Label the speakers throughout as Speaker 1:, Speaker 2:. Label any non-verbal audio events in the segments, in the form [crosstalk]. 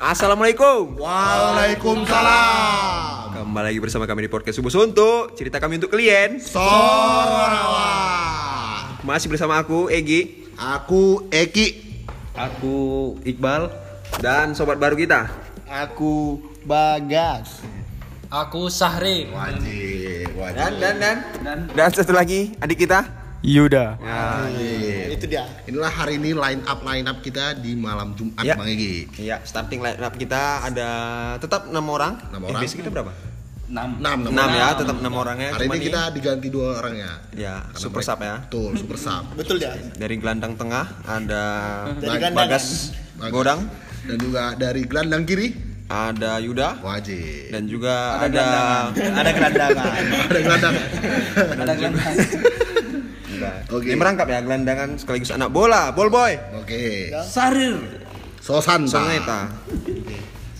Speaker 1: Assalamualaikum.
Speaker 2: Waalaikumsalam.
Speaker 1: Kembali lagi bersama kami di podcast Subuh Suntuk. Cerita kami untuk klien.
Speaker 2: Sorawa.
Speaker 1: Masih bersama aku Egi
Speaker 2: Aku Eki.
Speaker 3: Aku Iqbal.
Speaker 1: dan sobat baru kita.
Speaker 2: Aku Bagas.
Speaker 4: Aku Sahri.
Speaker 2: Wajib, wajib.
Speaker 1: dan dan dan satu lagi adik kita. Ya.
Speaker 3: Yuda.
Speaker 2: Itu dia. Inilah hari ini line up line up kita di malam Jumat
Speaker 1: Ya.
Speaker 2: Bang Egi.
Speaker 1: Iya, starting line up kita ada tetap enam orang.
Speaker 2: Enam
Speaker 1: Eh,
Speaker 2: orang.
Speaker 1: biasanya kita berapa?
Speaker 3: 6.
Speaker 2: Enam, enam
Speaker 1: Enam
Speaker 2: orang.
Speaker 1: ya, tetap enam orangnya.
Speaker 2: Hari
Speaker 1: Cuma
Speaker 2: ini
Speaker 1: nih,
Speaker 2: kita diganti dua orang ya.
Speaker 1: ya
Speaker 2: Karena
Speaker 1: super
Speaker 2: mereka-
Speaker 1: sub ya.
Speaker 2: Betul, super sub.
Speaker 5: Betul ya.
Speaker 1: Dari gelandang tengah ada
Speaker 5: Dari gelandangan.
Speaker 1: Bagas
Speaker 2: Bagas.
Speaker 1: Godang,
Speaker 2: Dan juga dari gelandang kiri.
Speaker 1: ada Yuda
Speaker 2: Wajib.
Speaker 1: dan juga
Speaker 3: Ada
Speaker 1: ada
Speaker 3: ada
Speaker 1: [laughs]
Speaker 3: gelandangan.
Speaker 2: Ada gelandang.
Speaker 3: ada gelandangan.
Speaker 2: Oke.
Speaker 1: Ini merangkap ya gelandangan sekaligus anak bola, ball boy.
Speaker 2: Oke.
Speaker 3: Sarir.
Speaker 2: Sosan.
Speaker 1: Soneta.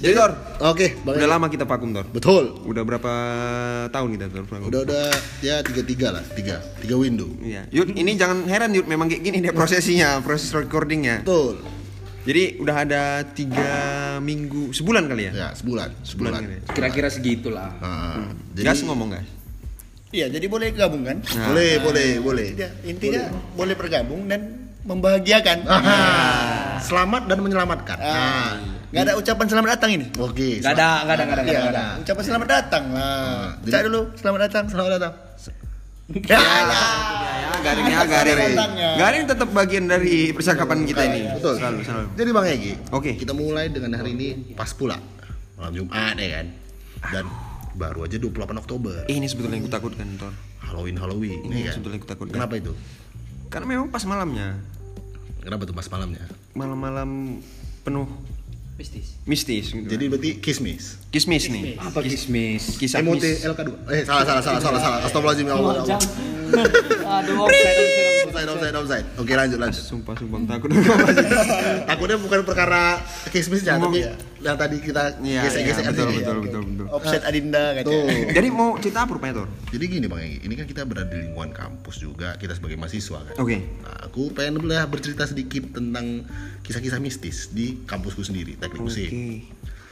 Speaker 1: Jadi Tor,
Speaker 2: Oke, Bang
Speaker 1: udah
Speaker 2: Egi.
Speaker 1: lama kita vakum Tor.
Speaker 2: Betul.
Speaker 1: Udah berapa tahun kita Tor vakum?
Speaker 2: udah udah ya tiga tiga lah tiga tiga window
Speaker 1: Iya. Yud, ini jangan heran Yud, memang kayak gini deh prosesinya, proses recordingnya.
Speaker 2: betul
Speaker 1: Jadi udah ada tiga minggu, sebulan kali ya?
Speaker 2: ya sebulan
Speaker 1: Sebulan kali
Speaker 2: sebulan
Speaker 1: ya.
Speaker 3: Kira-kira segitulah.
Speaker 2: Nah, jadi
Speaker 1: Gas ngomong guys.
Speaker 5: Iya, jadi boleh gabung kan?
Speaker 1: Nah.
Speaker 2: boleh boleh boleh
Speaker 5: Tidak, intinya boleh bergabung dan membahagiakan.
Speaker 2: Aha. selamat dan menyelamatkan nah.
Speaker 5: Ah. Nggak ada ucapan selamat datang ini.
Speaker 2: oke
Speaker 3: Enggak ada, enggak ada, enggak ada,
Speaker 5: Iya,
Speaker 3: enggak ada.
Speaker 5: ucapan selamat datang lah.
Speaker 2: Nah, Jadi-
Speaker 5: Cak dulu, selamat datang. Selamat datang. [laughs]
Speaker 2: Ya, ya.
Speaker 1: Ya, garing ya, garing.
Speaker 5: Tantangnya.
Speaker 1: Garing tetap bagian dari percakapan kita ini.
Speaker 2: betul
Speaker 1: Selalu, selalu.
Speaker 2: jadi bang Egi
Speaker 1: Oke.
Speaker 2: kita mulai dengan hari ini pas pula malam Jumat ya kan dan baru aja 28 Oktober
Speaker 1: Eh, ini sebetulnya yang kutakutkan Tor.
Speaker 2: Halloween Halloween
Speaker 1: Ini
Speaker 2: ya kan?
Speaker 1: sebetulnya yang kutakutkan.
Speaker 2: kenapa itu
Speaker 1: Karena memang pas malamnya,
Speaker 2: kenapa tuh pas malamnya
Speaker 1: malam-malam penuh
Speaker 3: Mistis.
Speaker 1: mistis. Gitu.
Speaker 2: jadi berarti kismis
Speaker 1: kismis nih.
Speaker 3: Apa kismis?
Speaker 1: Kisah
Speaker 2: MOT
Speaker 1: mis-
Speaker 2: LK2 eh salah salah salah salah salah astagfirullahaladzim ya Allah ya Allah.
Speaker 3: Aduh, offside, offside.
Speaker 2: offside offside offside oke lanjut lanjut
Speaker 1: Sumpah, sumpah takut.
Speaker 2: takutnya bukan perkara kismisnya
Speaker 1: Ngomong.
Speaker 2: tapi yang tadi kita
Speaker 1: Iya,
Speaker 2: gesek-gesek
Speaker 1: iya,
Speaker 2: aja
Speaker 1: betul,
Speaker 2: ya.
Speaker 1: betul,
Speaker 2: Oke.
Speaker 1: betul, betul.
Speaker 5: Offset Adinda kaca.
Speaker 2: Tuh.
Speaker 1: Jadi mau cerita apa rupanya Tor?
Speaker 2: jadi gini bang Egi ini kan kita berada di lingkungan kampus juga kita sebagai mahasiswa kan
Speaker 1: Oke.
Speaker 2: nah, aku pengen lah bercerita sedikit tentang kisah-kisah mistis di kampusku sendiri teknik
Speaker 1: Oke.
Speaker 2: musik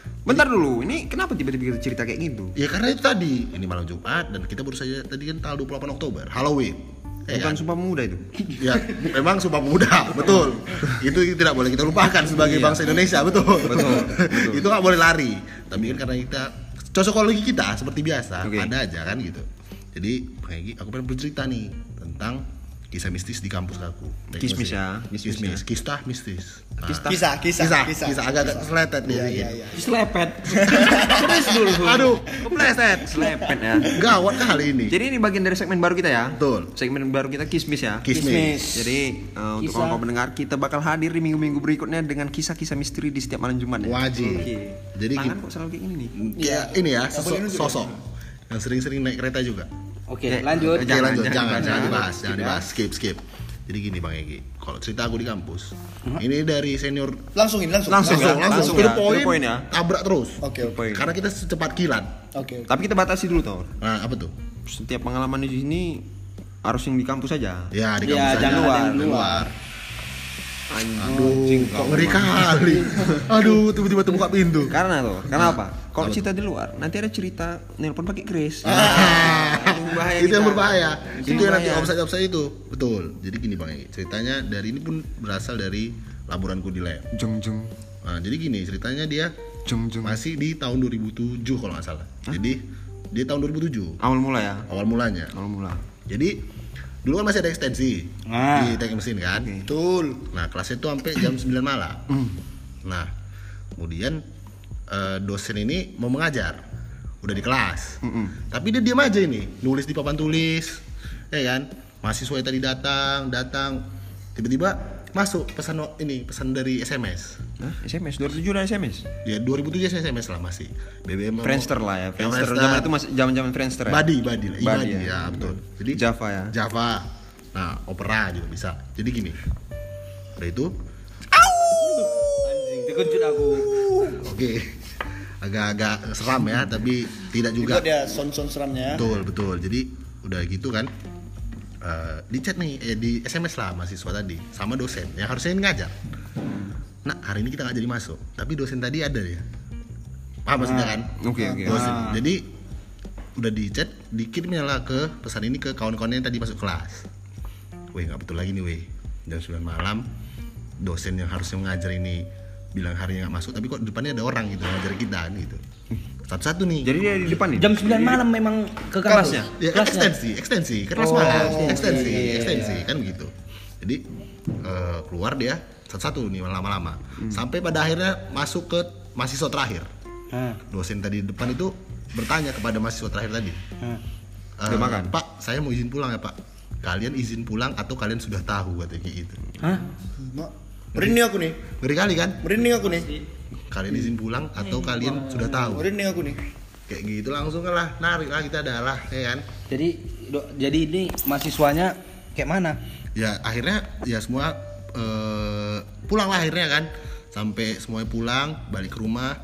Speaker 1: Bentar dulu, ini kenapa tiba-tiba kita cerita kayak gitu?
Speaker 2: ya karena itu tadi ini malam Jumat dan kita baru saja tadi kan tanggal 28 Oktober Halloween Ya
Speaker 1: Bukan
Speaker 2: kan?
Speaker 1: sumpah muda itu.
Speaker 2: ya memang Sumpah Pemuda betul itu tidak boleh kita lupakan sebagai
Speaker 1: Iya.
Speaker 2: bangsa Indonesia betul
Speaker 1: Betul,
Speaker 2: [laughs] itu nggak boleh lari tapi kan karena kita cocokologi kita seperti biasa
Speaker 1: Oke.
Speaker 2: ada aja kan gitu jadi Bang Egi, aku pengen bercerita nih tentang kisah mistis di kampus aku
Speaker 1: Kismis ya,
Speaker 2: kismis,
Speaker 1: kismis
Speaker 2: kisah mistis Nah,
Speaker 1: Kisah.
Speaker 5: Kisah, kisah,
Speaker 2: kisah,
Speaker 5: kisah.
Speaker 2: kisah, agak agak seletet nih gitu.
Speaker 5: Iya,
Speaker 2: dikit.
Speaker 5: iya, iya.
Speaker 3: Selepet. Terus dulu.
Speaker 2: aduh kepleset
Speaker 1: Selepet ya.
Speaker 2: gawat kali ini
Speaker 1: Jadi ini bagian dari segmen baru kita ya.
Speaker 2: Betul.
Speaker 1: Segmen baru kita kismis ya.
Speaker 2: kismis
Speaker 1: Jadi eh, untuk
Speaker 3: Kisah.
Speaker 1: kawan-kawan pendengar kita bakal hadir di minggu-minggu berikutnya dengan kisah-kisah misteri di setiap malam Jumat ya.
Speaker 2: wajib
Speaker 1: Oke.
Speaker 2: jadi
Speaker 1: Tangan
Speaker 2: kita-
Speaker 1: kok selalu kayak gini nih.
Speaker 2: kayak
Speaker 5: Iya,
Speaker 2: ini ya sosok, sosok
Speaker 5: ya?
Speaker 2: yang sering-sering naik kereta juga.
Speaker 3: Oke, lanjut.
Speaker 1: Eh,
Speaker 2: Oke,
Speaker 1: jangan,
Speaker 2: lanjut,
Speaker 1: jangan,
Speaker 2: jangan, jangan,
Speaker 1: jangan.
Speaker 2: dibahas,
Speaker 3: Skip
Speaker 2: jangan
Speaker 3: ya.
Speaker 2: dibahas, skip, skip. Jadi gini Bang Egi, kalau cerita aku di kampus, ini dari senior
Speaker 5: Langsung ini, langsung.
Speaker 1: Langsung, ya? Langsung
Speaker 2: to the
Speaker 1: ya, to the point ya.
Speaker 2: tabrak terus.
Speaker 5: Oke, oke.
Speaker 1: Poin.
Speaker 2: Karena kita secepat kilat.
Speaker 5: Oke.
Speaker 1: Tapi kita batasi dulu Tor.
Speaker 2: Nah, apa tuh?
Speaker 1: Setiap pengalaman di sini harus yang di kampus aja.
Speaker 2: Ya di
Speaker 3: Ya,
Speaker 2: kampus aja,
Speaker 3: jangan luar,
Speaker 2: jangan
Speaker 3: luar.
Speaker 1: Oh,
Speaker 2: Aduh, kok ngeri kali. Aduh, tiba-tiba tuh buka pintu.
Speaker 1: Karena tuh, karena
Speaker 2: Nah,
Speaker 1: apa? Kalau cerita di luar, nanti ada cerita nelpon pakai keris. bahaya
Speaker 2: Ah. itu
Speaker 1: Ah, kita.
Speaker 2: yang berbahaya
Speaker 1: Itu
Speaker 2: itu,
Speaker 1: yang
Speaker 2: yang nanti
Speaker 1: bahaya.
Speaker 2: offside offside itu betul jadi gini bang Egi, ceritanya dari ini pun berasal dari laporanku di lab
Speaker 1: Jeng jeng
Speaker 2: Nah, jadi gini ceritanya dia
Speaker 1: jeng jeng.
Speaker 2: masih di tahun 2007 kalau nggak salah. Jadi di tahun 2007
Speaker 1: Awal mula ya.
Speaker 2: awal mulanya.
Speaker 1: Awal mula.
Speaker 2: Jadi dulu kan masih ada ekstensi
Speaker 3: Ah.
Speaker 2: di teknik mesin kan.
Speaker 5: Betul.
Speaker 2: Nah, kelasnya itu sampai jam 9 malam. Nah, kemudian eh, dosen ini mau mengajar. Udah di kelas. Tapi dia diam aja ini, nulis di papan tulis. Ya kan? Mahasiswa yang tadi datang, datang. Tiba-tiba masuk pesan ini, pesan dari SMS.
Speaker 1: Hah? SMS 2007 udah SMS.
Speaker 2: Ya 2007 saya SMS lah masih. BBM mau-
Speaker 1: Friendster lah ya.
Speaker 2: Ya,
Speaker 1: Friendster zaman itu masih zaman-zaman Friendster ya.
Speaker 2: Badi, Badi lah. Iya,
Speaker 1: Badi
Speaker 2: Badi,
Speaker 1: ya.
Speaker 2: ya. betul. Jadi
Speaker 1: Java ya.
Speaker 2: Java. Nah, Opera juga bisa. Jadi gini. Udah itu
Speaker 3: Anjing, terkejut aku.
Speaker 2: oke. Agak-agak seram ya, tapi tidak
Speaker 5: Itu
Speaker 2: juga.
Speaker 1: ya.
Speaker 5: ada sound-sound ya, seramnya.
Speaker 2: Betul, betul. Jadi udah gitu kan. eh, di chat nih, eh, di SMS lah mahasiswa tadi sama dosen yang harusnya ini ngajar. nah hari ini kita nggak jadi masuk tapi dosen tadi ada ya paham maksudnya
Speaker 1: Nah,
Speaker 2: kan
Speaker 1: Oke, oke.
Speaker 2: Dosen. jadi udah di chat dikirimnya lah ke pesan ini ke kawan-kawannya yang tadi masuk kelas weh nggak betul lagi nih weh jam 9 malam dosen yang harusnya mengajar ini bilang harinya nggak masuk tapi kok depannya ada orang gitu ngajar kita kan, gitu satu-satu nih
Speaker 1: Jadi dia di depan nih.
Speaker 3: Jam 9 malam memang ke kelasnya.
Speaker 2: Ya, kan ekstensi, ekstensi, kan kelas malam, ekstensi, ekstensi, kan gitu. Jadi eh, keluar dia satu-satu nih lama-lama, sampai pada akhirnya masuk ke mahasiswa terakhir.
Speaker 3: Nah,
Speaker 2: Dosen tadi di depan itu bertanya kepada mahasiswa terakhir tadi,
Speaker 3: nah.
Speaker 2: "Eh,
Speaker 1: Udah makan?"
Speaker 2: Pak, saya mau izin pulang ya Pak. Kalian izin pulang atau kalian sudah tahu katanya kayak gitu.
Speaker 3: Hah?
Speaker 5: Mak, merinding aku nih
Speaker 2: Ngeri kali kan?
Speaker 5: merinding aku nih
Speaker 2: Kalian izin pulang atau kalian sudah tahu.
Speaker 5: merinding aku nih
Speaker 2: Kayak gitu langsung kan lah, narik lah kita adalah, ya kan?
Speaker 3: Jadi do- jadi ini mahasiswanya kayak mana?
Speaker 2: ya akhirnya ya semua eh, pulang lah akhirnya kan sampai semuanya pulang balik ke rumah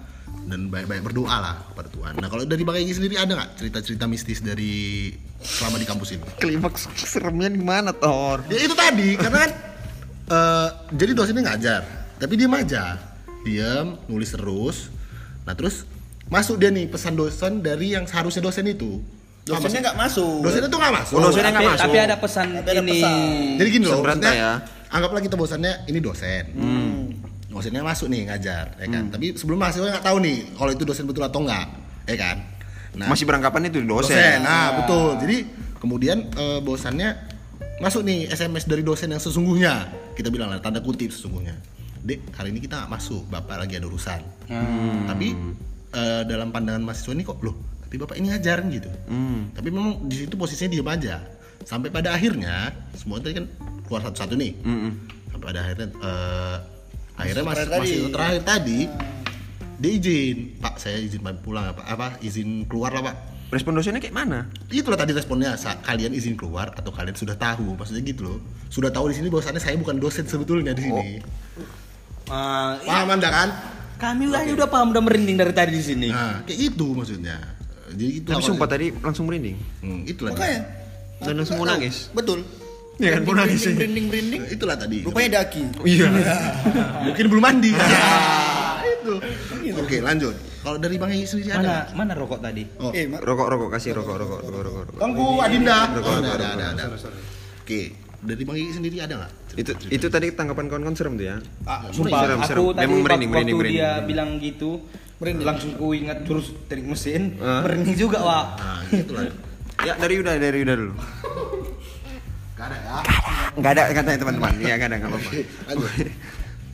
Speaker 2: dan baik-baik berdoa lah kepada Tuhan. Nah kalau dari Bang Egy sendiri ada nggak cerita-cerita mistis dari selama di kampus ini?
Speaker 1: Klimaks seremnya gimana, Tor?
Speaker 2: Ya itu tadi karena kan eh, jadi dosennya ngajar tapi diem aja diem nulis terus. Nah terus masuk dia nih pesan dosen dari yang seharusnya dosen itu.
Speaker 5: dosennya nggak masuk
Speaker 2: Dosennya tuh nggak masuk.
Speaker 1: Oh, dosennya nggak
Speaker 3: tapi,
Speaker 1: masuk.
Speaker 3: tapi ada pesan
Speaker 5: Tapi ada
Speaker 3: ini.
Speaker 5: pesan.
Speaker 2: Jadi gini loh,
Speaker 1: Bisa berantai
Speaker 2: maksudnya, anggaplah kita bosannya ini dosen.
Speaker 1: Hmm.
Speaker 2: Dosennya masuk nih ngajar, ya kan. Tapi sebelum mahasiswa nggak tahu nih kalau itu dosen betul atau enggak, ya kan. Nah,
Speaker 1: Masih beranggapan itu dosen.
Speaker 2: dosen. Nah,
Speaker 5: Ah.
Speaker 2: betul. Jadi kemudian eh, bosannya masuk nih SMS dari dosen yang sesungguhnya. Kita bilang lah tanda kutip sesungguhnya. Dek, hari ini kita nggak masuk, Bapak lagi ada urusan.
Speaker 5: Hmm.
Speaker 2: Tapi eh, dalam pandangan mahasiswa ini kok loh, tapi Bapak ini ngajarin gitu.
Speaker 5: Hmm.
Speaker 2: Tapi memang di situ posisinya diam aja. Sampai pada akhirnya semua tadi kan keluar satu-satu nih. Sampai pada akhirnya eh, akhirnya mas,
Speaker 5: Hmm. Terakhir tadi.
Speaker 2: masih terakhir tadi dia izin, Pak saya izin pamit pulang apa apa izin keluar lah Pak
Speaker 1: Respon dosennya kayak mana?
Speaker 2: itulah tadi responnya Sa- kalian izin keluar atau kalian sudah tahu maksudnya gitu loh sudah tahu di sini bahwasannya saya bukan dosen sebetulnya di
Speaker 1: Oh,
Speaker 2: sini
Speaker 3: Ah, i-
Speaker 2: paham anda kan
Speaker 3: kami udah udah paham udah merinding dari tadi di sini.
Speaker 2: nah kayak gitu maksudnya jadi itu
Speaker 1: iya. Tapi sumpah tadi langsung merinding.
Speaker 2: hmm, itulah
Speaker 5: makanya
Speaker 1: Dan
Speaker 5: Aku
Speaker 1: langsung mau
Speaker 5: nggak tahu.
Speaker 1: nangis.
Speaker 5: betul
Speaker 1: Iya kan, mau nangis
Speaker 5: merinding
Speaker 1: sih.
Speaker 5: merinding merinding
Speaker 2: dia. itulah tadi Ah,
Speaker 5: rupanya daki
Speaker 1: Iya.
Speaker 2: mungkin belum mandi
Speaker 1: Ah.
Speaker 2: Nah, itu oke lanjut kalau dari bang Egy sendiri
Speaker 3: Mana
Speaker 2: ada
Speaker 3: mana rokok tadi?
Speaker 2: oh
Speaker 5: eh mak
Speaker 1: Rokok, rokok, kasih rokok, rokok, rokok, rokok. rokok.
Speaker 2: tunggu Adinda
Speaker 1: Ada, ada,
Speaker 2: oh, ada
Speaker 1: ada,
Speaker 2: ada ada, ada. oke dari bang Egy sendiri ada nggak
Speaker 1: Itu itu tadi tanggapan kawan-kawan serem tuh ya.
Speaker 5: ah,
Speaker 3: Sumpah,
Speaker 1: Serem, serem.
Speaker 3: aku tadi
Speaker 1: Memang merinding,
Speaker 3: waktu
Speaker 1: merinding,
Speaker 3: dia
Speaker 1: merinding.
Speaker 3: bilang gitu, langsung ku ingat terus trik mesin, merinding juga, Wak.
Speaker 2: nah itulah
Speaker 1: Ya dari Yuda, dari Yuda dulu. Gak ada ya? Gak ada katanya teman-teman. Iya gak ada nggak apa-apa.
Speaker 2: lanjut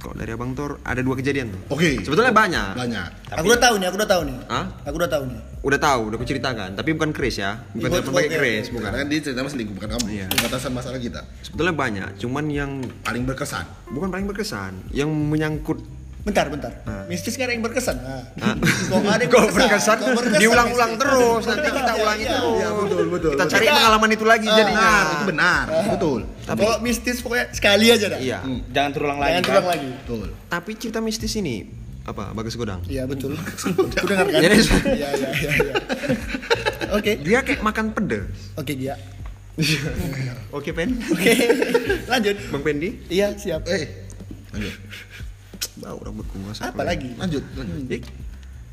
Speaker 1: Kalau dari Abang Tor ada dua kejadian tuh.
Speaker 2: oke
Speaker 1: Sebetulnya banyak.
Speaker 2: banyak
Speaker 5: aku udah tahu nih aku udah tahu nih
Speaker 1: Hah?
Speaker 5: aku udah tahu nih
Speaker 1: Udah tahu, udah kuceritakan, tapi bukan Chris ya. Bukan
Speaker 2: Iya,
Speaker 5: Bukan-
Speaker 1: telepon pakai
Speaker 5: bukan.
Speaker 1: Chris, bukan.
Speaker 2: Karena kan dia cerita mas bukan kamu.
Speaker 1: Iya.
Speaker 2: Pembatasan masalah kita
Speaker 1: Sebetulnya banyak, cuman yang
Speaker 2: paling berkesan.
Speaker 1: bukan paling berkesan, yang menyangkut
Speaker 5: bentar bentar mistis nggak ada yang berkesan nah.
Speaker 1: [laughs] Hah?
Speaker 5: [laughs] kok nggak ada yang
Speaker 1: Kok berkesan,
Speaker 5: Kok berkesan
Speaker 1: diulang-ulang
Speaker 5: mistis?
Speaker 1: terus nanti kita
Speaker 5: Iya,
Speaker 1: ulangi
Speaker 5: iya.
Speaker 1: terus.
Speaker 2: Iya, betul, betul,
Speaker 1: Kita
Speaker 2: betul.
Speaker 1: cari
Speaker 5: Kita-
Speaker 1: pengalaman itu lagi
Speaker 5: Ah,
Speaker 1: jadinya.
Speaker 2: Nah, itu benar, betul. Oh,
Speaker 5: Tapi kalau mistis pokoknya sekali aja dah.
Speaker 1: Iya.
Speaker 4: Hmm.
Speaker 3: Hmm, Jangan terulang lagi.
Speaker 5: Jangan
Speaker 3: kan?
Speaker 5: terulang lagi.
Speaker 2: Betul.
Speaker 1: Tapi cerita mistis ini apa? Bagus Godang.
Speaker 5: Iya
Speaker 1: [laughs]
Speaker 5: betul. [laughs] Aku dengar kan?
Speaker 1: Jadi-
Speaker 5: [laughs] Iya iya iya. iya. Oke
Speaker 1: Dia kayak makan pedes.
Speaker 5: oke Gia.
Speaker 1: Oke, Pen.
Speaker 5: Oke [laughs] lanjut.
Speaker 1: Bang Pendi,
Speaker 5: Iya siap.
Speaker 2: Eh, lanjut.
Speaker 1: bau rambutku masa.
Speaker 5: Apa lagi?
Speaker 2: Lanjut, lanjut.
Speaker 1: Jadi,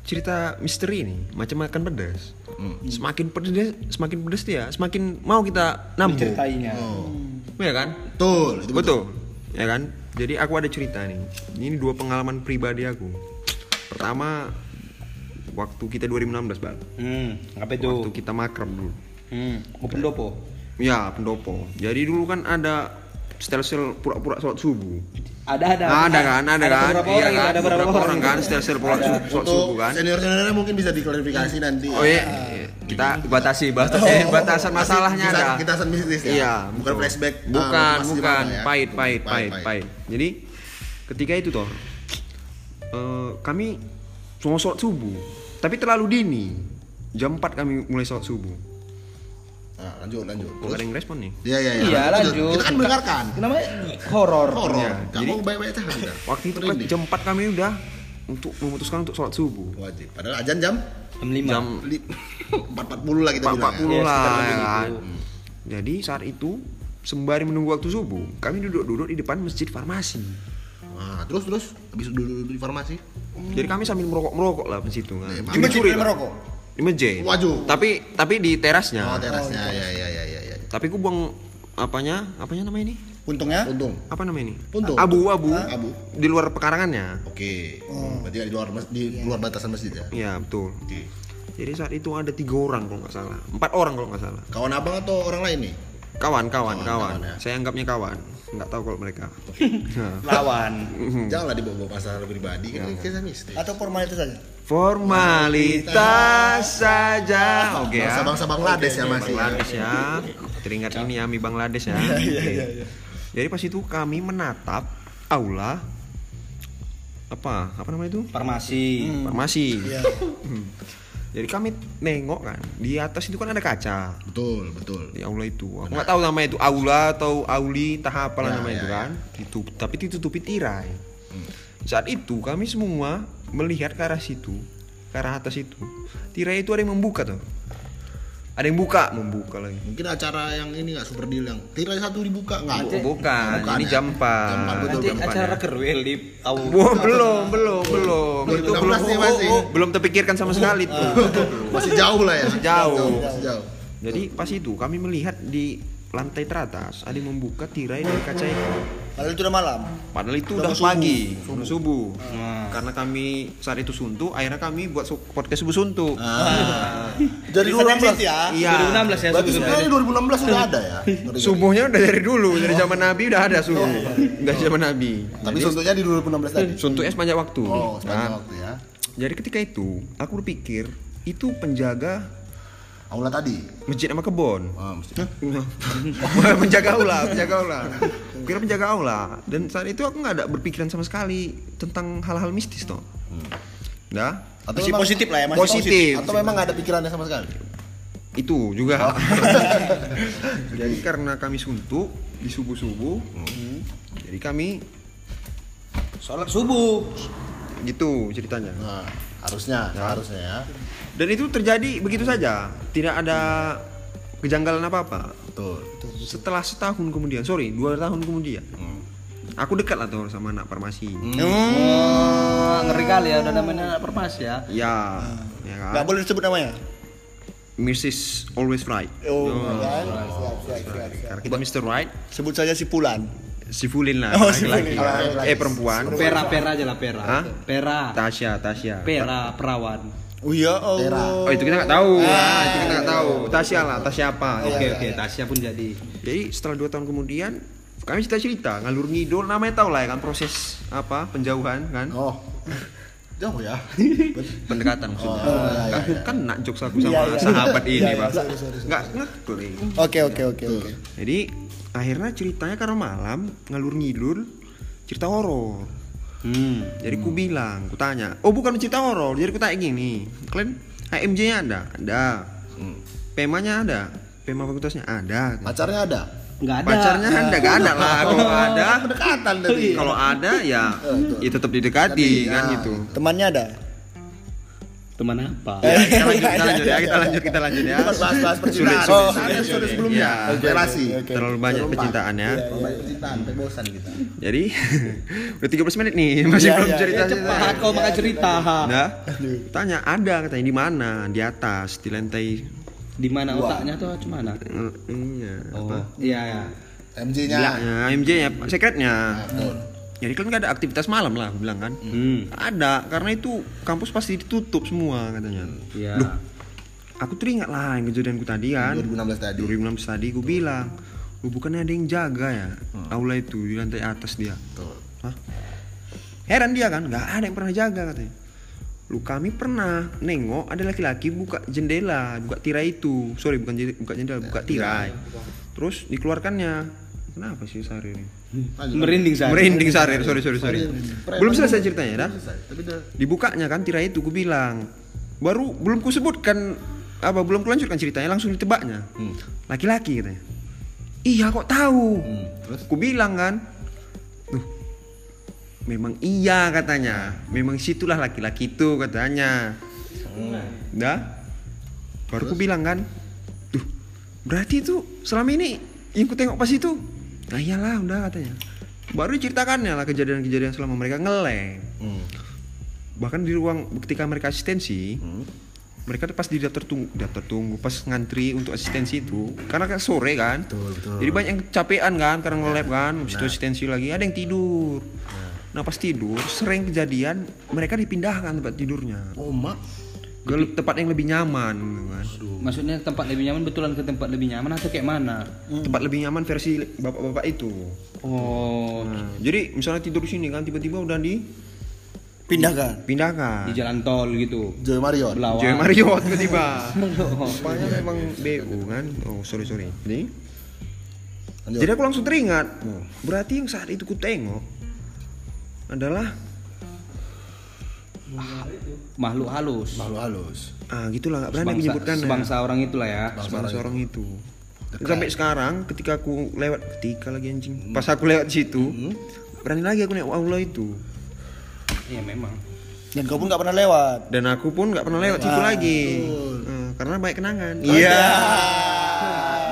Speaker 1: cerita misteri ini macam makan pedas.
Speaker 2: Hmm.
Speaker 1: Semakin pedas dia, semakin pedas dia, semakin mau kita nampung.
Speaker 3: Ceritainya.
Speaker 2: Oh.
Speaker 1: Iya kan?
Speaker 2: Betul, itu
Speaker 1: Betul. Ya kan? Jadi aku ada cerita nih. Ini dua pengalaman pribadi aku. Pertama waktu kita 2016, Bang.
Speaker 3: Hmm, apa itu?
Speaker 1: Waktu kita makrab dulu.
Speaker 3: Hmm, mau pendopo.
Speaker 1: Ya, pendopo. Jadi dulu kan ada stel-sel pura-pura sholat subuh.
Speaker 3: Ada ada.
Speaker 1: ada kan, ada, kan.
Speaker 3: Berapa
Speaker 1: Iya
Speaker 3: orang, ya?
Speaker 1: kan?
Speaker 3: ada berapa
Speaker 1: Beberapa
Speaker 3: orang,
Speaker 1: kan stel-sel sholat
Speaker 3: Ada.
Speaker 1: subuh, sholat
Speaker 2: Untuk
Speaker 1: subuh kan.
Speaker 2: senior-seniornya mungkin bisa diklarifikasi nanti.
Speaker 1: Oh iya, iya. kita batasi batas eh, batasan masalahnya
Speaker 2: Bisa-
Speaker 1: ada.
Speaker 2: Kita san mistis ya.
Speaker 1: Iya,
Speaker 2: bukan
Speaker 1: betul.
Speaker 2: flashback. uh,
Speaker 1: Bukan,
Speaker 2: Mas
Speaker 1: bukan.
Speaker 2: Jepang ya.
Speaker 1: Pahit, pahit, pahit, pahit. Jadi ketika itu toh eh, kami mau sholat subuh, tapi terlalu dini. Jam 4 kami mulai sholat subuh.
Speaker 2: Nah, lanjut, lanjut.
Speaker 1: Kok gak ada yang respon nih?
Speaker 2: Iya, iya, iya.
Speaker 3: Iya, lanjut.
Speaker 2: Kita kan mendengarkan.
Speaker 3: Kenapa? Horor.
Speaker 2: Horor.
Speaker 1: Iya,
Speaker 2: Gak
Speaker 1: jadi-
Speaker 2: mau baik-baik aja kita.
Speaker 1: Waktu itu kan
Speaker 2: Merinding.
Speaker 1: jam 4 kami udah untuk memutuskan untuk sholat subuh.
Speaker 2: Wajib. Padahal ajan jam
Speaker 3: Jam 5.
Speaker 1: Jam
Speaker 2: li- [laughs] 4.40 lah kita
Speaker 3: Iya,
Speaker 1: 4.40
Speaker 2: bilang.
Speaker 1: lah
Speaker 3: sekitar
Speaker 1: ya
Speaker 3: begitu.
Speaker 2: gitu.
Speaker 1: kan. Jadi saat itu sembari menunggu waktu subuh, kami duduk-duduk di depan masjid farmasi.
Speaker 2: ya. Nah, terus terus habis dulu dulu di farmasi.
Speaker 1: Jadi kami sambil merokok-merokok lah di situ kan.
Speaker 2: Di mana?
Speaker 1: Curi-curi
Speaker 5: Di
Speaker 1: lah.
Speaker 5: merokok.
Speaker 1: Di meja.
Speaker 2: Waduh.
Speaker 1: Tapi tapi di terasnya.
Speaker 2: Oh, terasnya. Ya ya ya ya ya.
Speaker 1: Tapi ku buang apanya? Apanya namanya ini?
Speaker 5: Untungnya
Speaker 2: Untung.
Speaker 1: Apa namanya ini?
Speaker 2: Puntung.
Speaker 1: Abu-abu.
Speaker 2: Ah, abu.
Speaker 1: Di luar pekarangannya.
Speaker 2: Oke. Berarti nggak di luar mas- di luar batasan masjid ya.
Speaker 1: Iya, betul.
Speaker 2: Oke.
Speaker 1: Jadi saat itu ada tiga orang kalau nggak salah, empat orang kalau nggak salah.
Speaker 2: Kawan abang atau orang lain nih?
Speaker 1: Kawan, kawan,
Speaker 2: Kawan,
Speaker 1: kawan.
Speaker 2: kawan, ya.
Speaker 1: Saya anggapnya kawan. Nggak tahu kalau mereka. Nah,
Speaker 3: lawan
Speaker 1: Mhm.
Speaker 2: Janganlah dibawa-bawa masalah pribadi kan
Speaker 1: Iya.
Speaker 2: kisah mistis.
Speaker 5: atau formalitas saja.
Speaker 1: Formalitas saja. Oke ya.
Speaker 2: Bangsa-bangsa Bangladesh ya masih.
Speaker 1: Bangladesh ya. Teringat ini ya, mi Bangladesh ya. Oke. Jadi pas itu kami menatap aula apa? Apa namanya itu?
Speaker 3: farmasi
Speaker 4: Hmm.
Speaker 1: Hmm. Farmasi. Hmm.
Speaker 5: Iya.
Speaker 1: Jadi kami nengok kan, di atas itu kan ada kaca.
Speaker 2: Betul, betul.
Speaker 1: di aula Ya itu aku nggak tahu namanya itu aula atau auli entah apalah
Speaker 2: Ya,
Speaker 1: namanya
Speaker 2: ya,
Speaker 1: itu
Speaker 2: ya. Hmm.
Speaker 1: kan itu tapi ditutupi tirai saat itu kami semua melihat ke arah situ ke arah atas itu tirai itu ada yang membuka tuh ada yang buka membuka lagi
Speaker 2: Mungkin acara yang ini nggak super deal yang tirai satu dibuka nggak?
Speaker 1: Bu- bukan,
Speaker 2: Bukan,
Speaker 1: ini
Speaker 2: ya.
Speaker 1: jam empat.
Speaker 2: Jam empat, betul
Speaker 3: nanti
Speaker 2: jam empat,
Speaker 3: acara
Speaker 2: ya.
Speaker 3: kerwil di awal
Speaker 1: Wah, belum, belum, belum. Itu
Speaker 2: 2016
Speaker 1: belum,
Speaker 2: nih
Speaker 1: oh,
Speaker 2: masih.
Speaker 1: oh, oh, belum terpikirkan sama sekali tuh.
Speaker 2: masih jauh lah ya.
Speaker 1: Masih jauh.
Speaker 2: Masih jauh.
Speaker 1: Jadi pas itu kami melihat di lantai teratas ada yang membuka tirai dari kaca itu.
Speaker 5: Padahal itu udah malam.
Speaker 1: Padahal itu udah,
Speaker 5: Udah subuh.
Speaker 1: pagi, udah subuh.
Speaker 2: Nah.
Speaker 1: Karena kami saat itu suntuk, akhirnya kami buat su- podcast subuh suntuk.
Speaker 2: Ah.
Speaker 5: Jadi
Speaker 2: Dulu
Speaker 5: sedang
Speaker 2: orang-
Speaker 5: ya.
Speaker 1: Iya.
Speaker 3: 2016 ya
Speaker 2: Berarti
Speaker 3: sebetulnya
Speaker 2: sebenarnya 2016 sudah ada ya.
Speaker 1: Subuhnya udah dari
Speaker 2: Oh.
Speaker 1: dulu, dari zaman Nabi udah ada subuh. Dari zaman Nabi.
Speaker 2: Tapi suntuknya di 2016 tadi.
Speaker 1: Suntuknya sepanjang waktu.
Speaker 2: Oh,
Speaker 1: Nah,
Speaker 2: sepanjang waktu ya.
Speaker 1: jadi ketika itu, aku berpikir itu penjaga
Speaker 2: Aula tadi.
Speaker 1: masjid sama kebon. [laughs]
Speaker 2: Ah, mesti.
Speaker 1: menjaga aula, menjaga aula. Kira menjaga aula. Dan saat itu aku nggak ada berpikiran sama sekali tentang hal-hal mistis toh.
Speaker 2: Hmm.
Speaker 1: Nah,
Speaker 2: Atau
Speaker 5: Masih
Speaker 2: memang-
Speaker 5: positif lah ya, masih
Speaker 1: Positif.
Speaker 2: Atau memang nggak ada pikirannya sama sekali.
Speaker 1: itu juga [laughs] jadi karena kami suntuk di subuh subuh jadi kami
Speaker 3: sholat subuh
Speaker 1: gitu ceritanya
Speaker 2: Nah, harusnya, harusnya ya.
Speaker 1: dan itu terjadi begitu saja tidak ada kejanggalan apa apa
Speaker 2: Betul.
Speaker 1: setelah setahun kemudian sorry dua tahun kemudian aku dekat lah tuh sama anak farmasi
Speaker 3: Wah, ngeri kali ya udah namanya anak farmasi ya
Speaker 1: ya ya kan?
Speaker 5: Enggak boleh disebut namanya.
Speaker 1: Mrs. Always Right
Speaker 5: Oh, kan? Siap, siap, siap, siap.
Speaker 1: karena kita Mr. Right
Speaker 5: Sebut saja si Pulan.
Speaker 1: si Fulin lah
Speaker 5: Oh, si
Speaker 1: laki-laki
Speaker 5: Fulin.
Speaker 1: kan.
Speaker 5: Laki-laki.
Speaker 1: eh perempuan
Speaker 3: pera pera aja lah pera
Speaker 1: Hah?
Speaker 3: pera
Speaker 1: Tasya Tasya
Speaker 3: pera perawan
Speaker 5: Oh iya, Allah.
Speaker 1: Oh itu kita nggak tahu. Ah,
Speaker 5: iya,
Speaker 1: itu kita nggak tahu. Tasya lah, Tasya apa?
Speaker 3: oke oke Tasya pun jadi
Speaker 1: Jadi setelah dua tahun kemudian kami cerita cerita ngalur ngidul namanya tau lah ya kan proses apa penjauhan kan
Speaker 2: Oh. [laughs] Jauh ya.
Speaker 1: pendekatan maksudnya
Speaker 2: Oh, iya, iya, iya.
Speaker 1: kan nak jokes aku sama
Speaker 5: Iya, iya.
Speaker 1: sahabat ini
Speaker 5: Iya, iya,
Speaker 1: pak
Speaker 5: sorry, sorry, sorry.
Speaker 1: nggak ngekel ini.
Speaker 5: Oke, oke, oke, oke.
Speaker 1: jadi akhirnya ceritanya karena malam ngalur ngidul cerita horor
Speaker 3: hmm
Speaker 1: jadi ku bilang ku tanya oh bukan cerita horor jadi ku tanya gini kalian AMJ nya ada ada Hmm. PEMA nya ada PEMA fakultasnya ada
Speaker 2: Pacarnya ada.
Speaker 3: nggak ada
Speaker 1: pacarnya kan enggak ada lah kalau ada
Speaker 2: Pendekatan tadi.
Speaker 5: Iya.
Speaker 1: kalau ada ya ya tetap didekati kan gitu
Speaker 5: Temannya ada?
Speaker 3: teman apa
Speaker 1: Ya, kita lanjut kita lanjut ya kita lanjut kita lanjut ya
Speaker 2: bahas-bahas
Speaker 1: sulit
Speaker 2: percintaan.
Speaker 1: sulit
Speaker 2: Oh,
Speaker 1: sulit,
Speaker 2: episode
Speaker 1: sulit.
Speaker 2: sebelumnya.
Speaker 1: Ya,
Speaker 2: Oke, relasi.
Speaker 5: oke.
Speaker 1: terlalu banyak Iya,
Speaker 2: Terlalu
Speaker 1: percintaannya
Speaker 2: Banyak Iya, percintaan, sampai bosan kita.
Speaker 1: jadi [laughs] udah 13 menit nih masih
Speaker 5: Iya,
Speaker 1: belum
Speaker 5: iya.
Speaker 1: cerita
Speaker 3: cepat kau makan cerita
Speaker 1: nah tanya ada katanya di mana di atas di lantai
Speaker 3: di mana otaknya tuh cuma mana
Speaker 1: Iya, apa?
Speaker 3: iya ya
Speaker 2: MJ-nya.
Speaker 5: Iya.
Speaker 1: Bilangnya, MJ nya sekretnya jadi kan nggak ada aktivitas malam lah aku bilang kan
Speaker 3: hmm
Speaker 1: Ada, karena itu kampus pasti ditutup semua katanya.
Speaker 3: iya
Speaker 1: Loh, aku teringat lah yang kejadianku tadi kan.
Speaker 2: 2016 tadi.
Speaker 1: 2016 tadi gue bilang, lu bukannya ada yang jaga ya aula itu di lantai atas dia.
Speaker 2: Hmm. Betul.
Speaker 1: Hah? Heran dia kan, nggak ada yang pernah jaga katanya. Lu kami pernah nengok ada laki-laki buka jendela, buka tirai itu. Sorry bukan jendela, buka jendela,
Speaker 2: Ya,
Speaker 1: buka tirai. Terus dikeluarkannya. Kenapa sih Sari ini?
Speaker 3: merinding saya
Speaker 1: Merinding Sari, sorry sorry sorry. Belum selesai ceritanya dah
Speaker 2: Selesai. Tapi udah
Speaker 1: dibukanya kan tirai itu gue bilang baru belum ku sebutkan apa belum kulanjutkan ceritanya langsung ditebaknya laki-laki katanya iya kok tahu
Speaker 4: Hmm.
Speaker 3: Hmm.
Speaker 2: terus?
Speaker 1: ku bilang kan Duh, memang iya katanya memang situlah laki-laki itu katanya
Speaker 2: Hmm.
Speaker 1: dah baru ku bilang kan Duh, berarti itu selama ini yang ku tengok pas itu nah iyalah udah katanya Baru diceritakannya lah kejadian-kejadian selama mereka ngeleng.
Speaker 2: Hmm.
Speaker 1: Bahkan di ruang ketika mereka asistensi,
Speaker 2: Hmm.
Speaker 1: mereka tuh pas di daftar tunggu, daftar tunggu pas ngantri untuk asistensi itu, karena kan sore kan.
Speaker 2: Betul, betul.
Speaker 3: Hmm.
Speaker 1: Jadi banyak yang kecapean kan
Speaker 3: Ya,
Speaker 1: karena ngelep kan, habis itu asistensi lagi, ada yang tidur. Nah pas tidur sering kejadian mereka dipindahkan tempat tidurnya
Speaker 2: Oh mak,
Speaker 1: ke le- tempat yang lebih nyaman gitu kan.
Speaker 3: Maksudnya tempat lebih nyaman betulan ke tempat lebih nyaman atau kayak mana?
Speaker 1: tempat lebih nyaman versi bapak-bapak itu.
Speaker 3: Oh,
Speaker 1: Nah, jadi misalnya tidur di sini kan tiba-tiba udah
Speaker 5: Pindahkan.
Speaker 1: dipindahkan.
Speaker 3: di jalan tol gitu.
Speaker 2: Joy Mario.
Speaker 3: Belawan.
Speaker 1: Joy Mario
Speaker 3: [laughs]
Speaker 1: tiba-tiba.
Speaker 3: Oh.
Speaker 1: Rupanya memang BU kan. Oh, sorry sorry. Jadi jadi aku langsung teringat. "Oh, Berarti yang saat itu ku tengok adalah
Speaker 3: Makhluk halus.
Speaker 2: Malu halus.
Speaker 1: ah gitulah nggak berani aku
Speaker 3: Sebangsa,
Speaker 1: menyebutkan ya."
Speaker 3: sebangsa orang itulah ya.
Speaker 1: sebangsa orang itu. Sampai sekarang ketika aku lewat ketika lagi anjing. Pas aku lewat situ, berani lagi aku naik aula itu.
Speaker 3: Iya memang.
Speaker 5: Dan kau pun nggak pernah lewat.
Speaker 1: Dan aku pun nggak pernah lewat situ lagi. Eh, karena banyak kenangan.
Speaker 5: Iya,